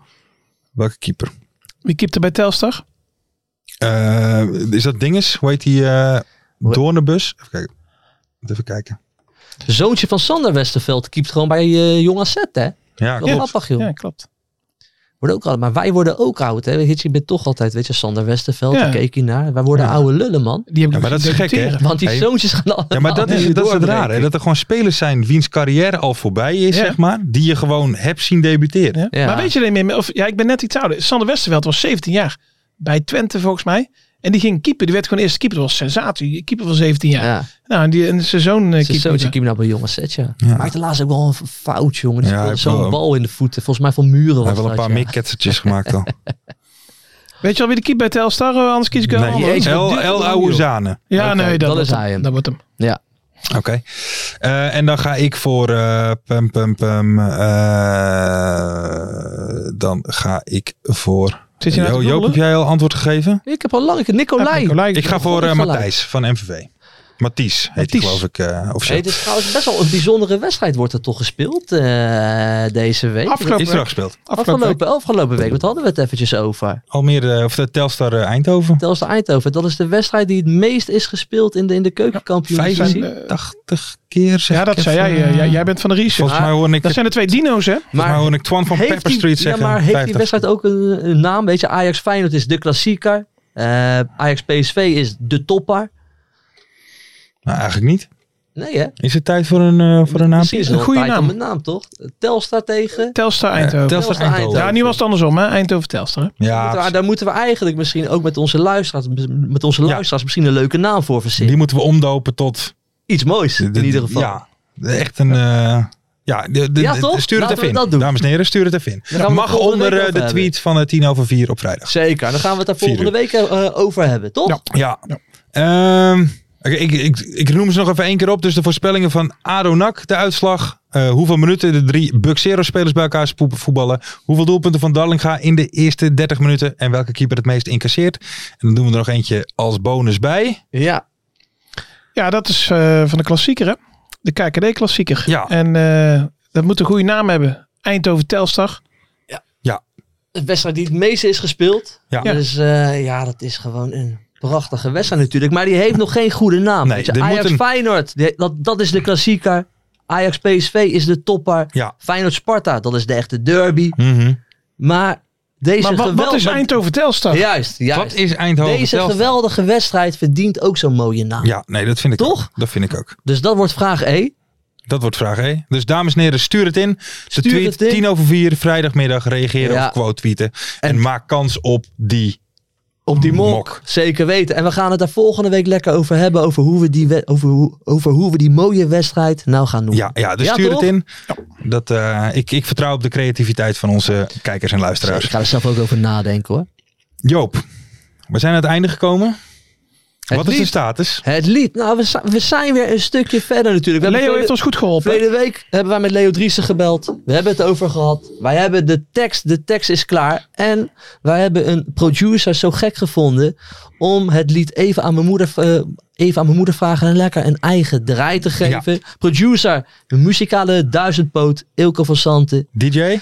Welke keeper? Wie keepte bij Telstar? Eh, is dat Dinges? Hoe heet die? eh Hoe- Doornenbus? Even kijken. Even kijken. Zoontje van Sander Westerveld keept gewoon bij eh Jong AZ, hè? Ja, Wat klopt. grappig, joh. Ja, klopt. worden ook ouder. Maar wij worden ook oud. Hè? Hitchie bent toch altijd, weet je, Sander Westerveld, Ja. daar keek je naar. Wij worden Ja. oude lullen, man. Die heb ik Ja, maar dat is gek, hè? Want die Hey. zoontjes gaan allemaal Ja, maar dat is, nu dat is het doorbreken. raar, hè? Dat er gewoon spelers zijn wiens carrière al voorbij is, Ja. zeg maar. Die je gewoon hebt zien debuteren. Ja. Maar weet je er niet meer, of, ja, ik ben net iets ouder. Sander Westerveld was 17 jaar bij Twente volgens mij. En die ging keeper. Die werd gewoon eerste keeper. Dat was sensatie. Keeper van 17 jaar. Ja. Nou, en, die, en zijn zoon eh, Zijn keeper. zoontje keeper nou bij jonge set, ja. Maakt de laatste ook wel een fout, jongen. Die Ja, speelde hij heeft zo'n wel- bal in de voeten. Volgens mij van muren Hij was heeft wel een dat, paar ja. mikketsertjes gemaakt al. Weet je al wie de keeper bij Telstar? eh, Anders kies ik wel. Nee, anders. El, El Aouzane. Ja, Oké, nee, dat, dan wordt is hem. hij hem. Dat wordt hem. Ja. Oké. Eh, en dan ga ik voor. eh, pum, pum, pum, eh, dan ga ik voor. Zit je nou Jo- te Joop, googlen? Oh, heb jij al antwoord gegeven? Ik heb al lang... ik- Nicolai. Ja, Nicolai. Ik ga heb voor goed eh, gelijk. Matthijs van MVV. Matthijs heet hij Matthijs. geloof ik. eh, of zo. Hey, dit is trouwens best wel een bijzondere wedstrijd wordt er toch gespeeld eh, deze week. Afgelopen Is er al gespeeld. afgelopen, afgelopen week, want daar hadden we het eventjes over. Almere, eh, of de Telstar eh, Eindhoven. Telstar Eindhoven, dat is de wedstrijd die het meest is gespeeld in de, in de keukenkampioen. 85 keer zeg Ja, ik dat zei even. jij. eh, jij- jij bent van de research. Volgens mij hoor ik, Dat zijn de twee dino's, hè? volgens mij hoor ik Twan van Pepper die, Street ja, zeggen. maar heeft die 50. wedstrijd ook een, een naam? Weet je, Ajax Feyenoord is de klassieker. Eh, Ajax PSV is de topper. Nou, eigenlijk niet. Nee hè? Is het tijd voor een, eh voor een naam? Precies, Een wel goede tijd naam. om een naam toch? Telstar tegen... Telstar Eindhoven. Telstar Telstar Eindhoven. Eindhoven. ja, nu was het andersom, hè? Eindhoven Telstar. hè? Ja, Moeten we- daar moeten we eigenlijk misschien ook met onze luisteraars, met onze Ja. luisteraars misschien een leuke naam voor verzinnen. die moeten we omdopen tot... Iets moois de- de- in ieder geval. Ja, echt een... eh, ja, de, de, Ja, de- toch? stuur het even Laten we in. dat doen. Dames en heren, stuur het even in. gaan we het Mag volgende onder week eh, over de hebben. tweet van eh, 10 over 4 op vrijdag. Zeker, dan gaan we het daar Vier volgende week eh, over hebben, toch? Ja. Ja. Ehm, oké, ik, ik, ik noem ze nog even één keer op. Dus de voorspellingen van Adonak, de uitslag. eh, hoeveel minuten de drie Buxero-spelers bij elkaar spoe- voetballen. Hoeveel doelpunten van Darlinga in de eerste 30 minuten. En welke keeper het meest incasseert. En dan doen we er nog eentje als bonus bij. Ja. Ja, dat is eh, van de klassieker, hè? De KKD-klassieker. Ja. En eh, dat moet een goede naam hebben. Eindhoven Telstar. De wedstrijd die het meeste is gespeeld. Ja. Dus eh, ja, dat is gewoon een prachtige wedstrijd natuurlijk. Maar die heeft nog geen goede naam. Nee, Weet je, dit moet Ajax een- Feyenoord, die- dat, dat is de klassieker. Ajax PSV is de topper. Ja. Feyenoord Sparta, dat is de echte derby. Mhm. Maar deze Maar wat, wat geweld- is Eindhoven Telstar? Juist, Wat juist. is Eindhoven? Deze Telstar? geweldige wedstrijd verdient ook zo'n mooie naam. Ja, nee, dat vind ik Toch? ook. Dat vind ik ook. Dus dat wordt vraag E. Dat wordt vraag hè. Dus dames en heren, stuur het in. De Stuur tweet het in. 10 over 4, vrijdagmiddag. Reageren Ja. of quote tweeten. En, En- maak kans op die. Op die mok. Mok. Zeker weten. En we gaan het daar volgende week lekker over hebben. Over hoe we die, we- over hoe, over hoe we die mooie wedstrijd nou gaan noemen. Ja, ja dus Ja, stuur toch? het in. Dat, eh, ik, ik vertrouw op de creativiteit van onze kijkers en Ik luisteraars. ga er zelf ook over nadenken hoor. Joop, we zijn aan het einde gekomen. Het Wat is lied. de status? Het lied. Nou, we, zi- we zijn weer een stukje verder natuurlijk. We Leo hebben heeft ons goed geholpen. Verleden week hebben wij met Leo Driessen gebeld. We hebben het over gehad. Wij hebben de tekst, de tekst is klaar. En wij hebben een producer zo gek gevonden om het lied even aan mijn moeder, eh, even aan mijn moeder vragen en lekker een eigen draai te geven. Producer, de muzikale duizendpoot Ilko van Santen, DJ?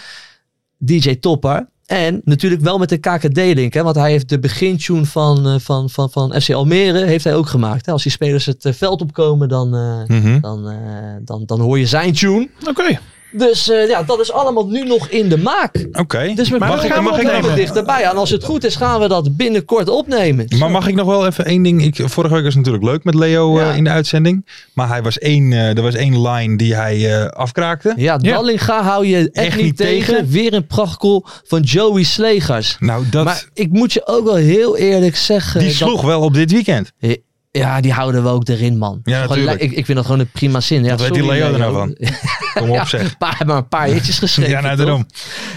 DJ Topper. En natuurlijk wel met de KKD-link, hè, want hij heeft de begintune van, eh, van, van, van FC Almere heeft hij ook gemaakt. Hè. Als die spelers het eh, veld opkomen, dan, eh, Mhm. dan, eh, dan, dan hoor je zijn tune. Oké. Dus eh, ja, dat is allemaal nu nog in de maak. Oké. Dus we Maar komen dat gaan we er wel opnemen. weer dichterbij aan. Als het goed is, gaan we dat binnenkort opnemen. Maar mag ik nog wel even één ding? Ik, vorige week was het natuurlijk leuk met Leo eh, Ja. in de uitzending. Maar hij was één, eh, er was één line die hij eh, afkraakte. Ja, Ja. Dallinga hou je echt, Echt niet niet tegen. tegen. Weer een prachtkool van Joey Slegers. Nou, dat, Maar ik moet je ook wel heel eerlijk zeggen. die eh, dat- sloeg wel op dit weekend. Eh, ja, die houden we ook erin, man. Ja, Gewoon le- natuurlijk. ik, ik vind dat gewoon een prima zin. Ja, Wat weet die sorry, Leo er nou van? Kom op zeg. Een paar, maar een paar hitjes geschreven. Ja, nou toch? daarom.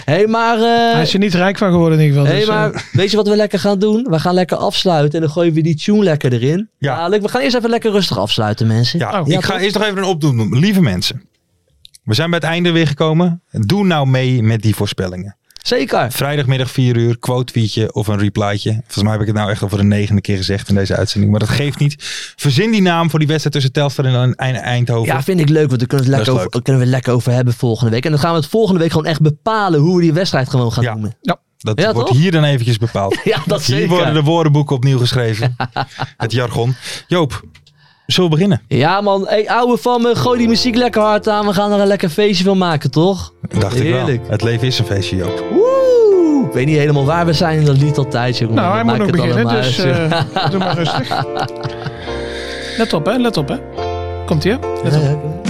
hey, maar... eh, Hij is er niet rijk van geworden in ieder geval. Hé, dus, eh, maar weet je wat we lekker gaan doen? We gaan lekker afsluiten en dan gooien we die tune lekker erin. Ja. Dadelijk. We gaan eerst even lekker rustig afsluiten, mensen. Ja, Oh. ik Ja, ga toch? eerst nog even een oproep doen. Lieve mensen, we zijn bij het einde weer gekomen. Doe nou mee met die voorspellingen. Zeker. Vrijdagmiddag 4 uur, quote tweetje of een replytje. Volgens mij heb ik het nou echt al voor de negende keer gezegd in deze uitzending. Maar dat geeft niet. Verzin die naam voor die wedstrijd tussen Telstar en Eind- Eindhoven. Ja, vind ik leuk, want daar kunnen we, het Dat lekker is over, kunnen we het lekker over hebben volgende week. En dan gaan we het volgende week gewoon echt bepalen hoe we die wedstrijd gewoon gaan Ja. noemen. dat ja, wordt toch? hier dan eventjes bepaald. Ja, dat hier zeker. worden de woordenboeken opnieuw geschreven. het jargon. Joop, zullen we beginnen? Ja man, hey ouwe van me, gooi die muziek lekker hard aan. We gaan er een lekker feestje van maken, toch? Dacht ik Heerlijk. wel. Het leven is een feestje, Joop. Woe! Ik weet niet helemaal waar we zijn in dat lied altijd, jongen. Nou, hij Maak moet nog het beginnen, allemaal dus uit, joh. eh, doe maar rustig. Let op, hè. Let op, hè. Komt ie, hè. Let op.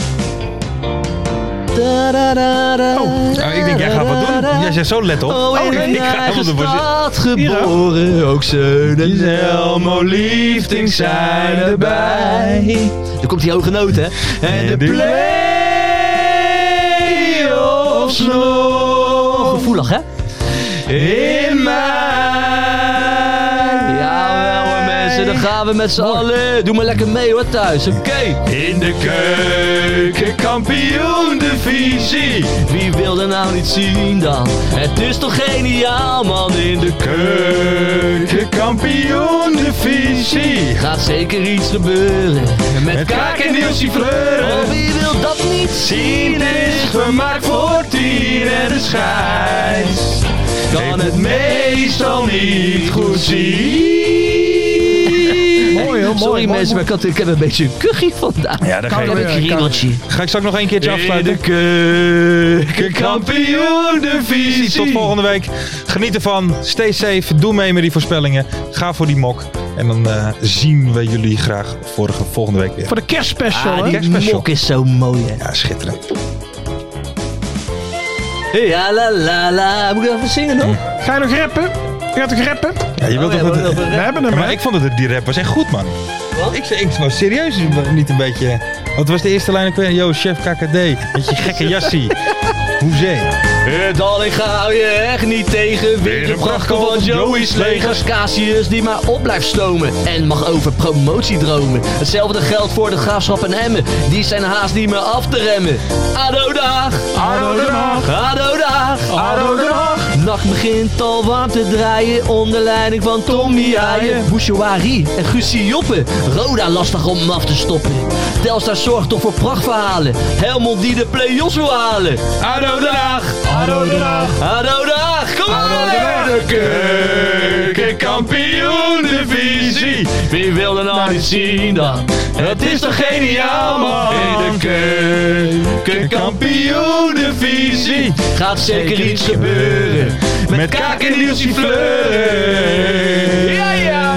Nou, ik denk, jij gaat wat doen. Jij zegt zo, let op. Oh, in ik een ga eigen helemaal ervoor zitten. stad geboren, ook Zeun en Elmo liefdings zijn erbij. Dan komt die hoge noot, hè? En de play-offs nog. Gevoelig, hè? In mij. Ja, hoor mensen, dan gaan we met z'n allen. Doe maar lekker mee, hoor, thuis. Oké. In de keuken, kampioen de visie. Wie wil er nou niet zien dan? Het is toch geniaal, man. In de keuken, kampioen de visie. Gaat zeker iets gebeuren. Met, Kaak en Nielsie Fleuren. Oh, wie wil dat niet zien? Is vermaakt voor tien en de scheids. Kan het meestal niet goed zien. Mooi, heel mooi, Sorry mooi, mensen, mooi. maar ik, had, ik heb een beetje een kuchie vandaag. Ja, dat ga ik je- heb een ja, kriebeltje. Ga ik straks nog een keertje afsluiten. In de keuken, kampioen de visie. Tot volgende week. Geniet ervan. Stay safe. Doe mee met die voorspellingen. Ga voor die mok. En dan eh, zien we jullie graag vorige, volgende week weer. Voor de kerstspecial, Ah, hè. die Kerstspecial. mok is zo mooi, hè. Ja, schitterend. Ja, la la la. Moet ik dat even zingen nog? Ga je nog rappen? Je gaat toch rappen? Ja, je wilt Oh, ja, toch we dat... hebben nog We een hebben Ja, hem, maar hè. ik vond het, die rap was echt goed, man. Wat? Ik, ik was serieus niet een beetje... Wat was de eerste lijn ook weer? Yo, chef KKD. Met je gekke jassie. Hoezee. Het Dallinga Eh, hou je echt niet tegen. Weer de prachtkel van Joey's legers. Casius die maar op blijft stomen. En mag over promotie dromen. Hetzelfde geldt voor de graafschap en Emmen. Die zijn haast niet meer af te remmen. Ado dag. Ado Den Haag. Ado dag. Ado Den Haag. Nacht begint al warm te draaien. Onder leiding van Tommy Haaien. Bouchouari en Gussie Joppen. Roda lastig om hem af te stoppen. Telstar zorgt toch voor prachtverhalen. Helmond die de play-offs wil halen. Ado Den Haag. Ado Den Haag. Hallo dag, kom maar! Keukenkampioen divisie. Wie wil er nou niet zien dan? Het is toch geniaal man. In de keukenkampioen divisie. Gaat zeker iets gebeuren. Met kaak en Nielsie Fleuren. Ja ja.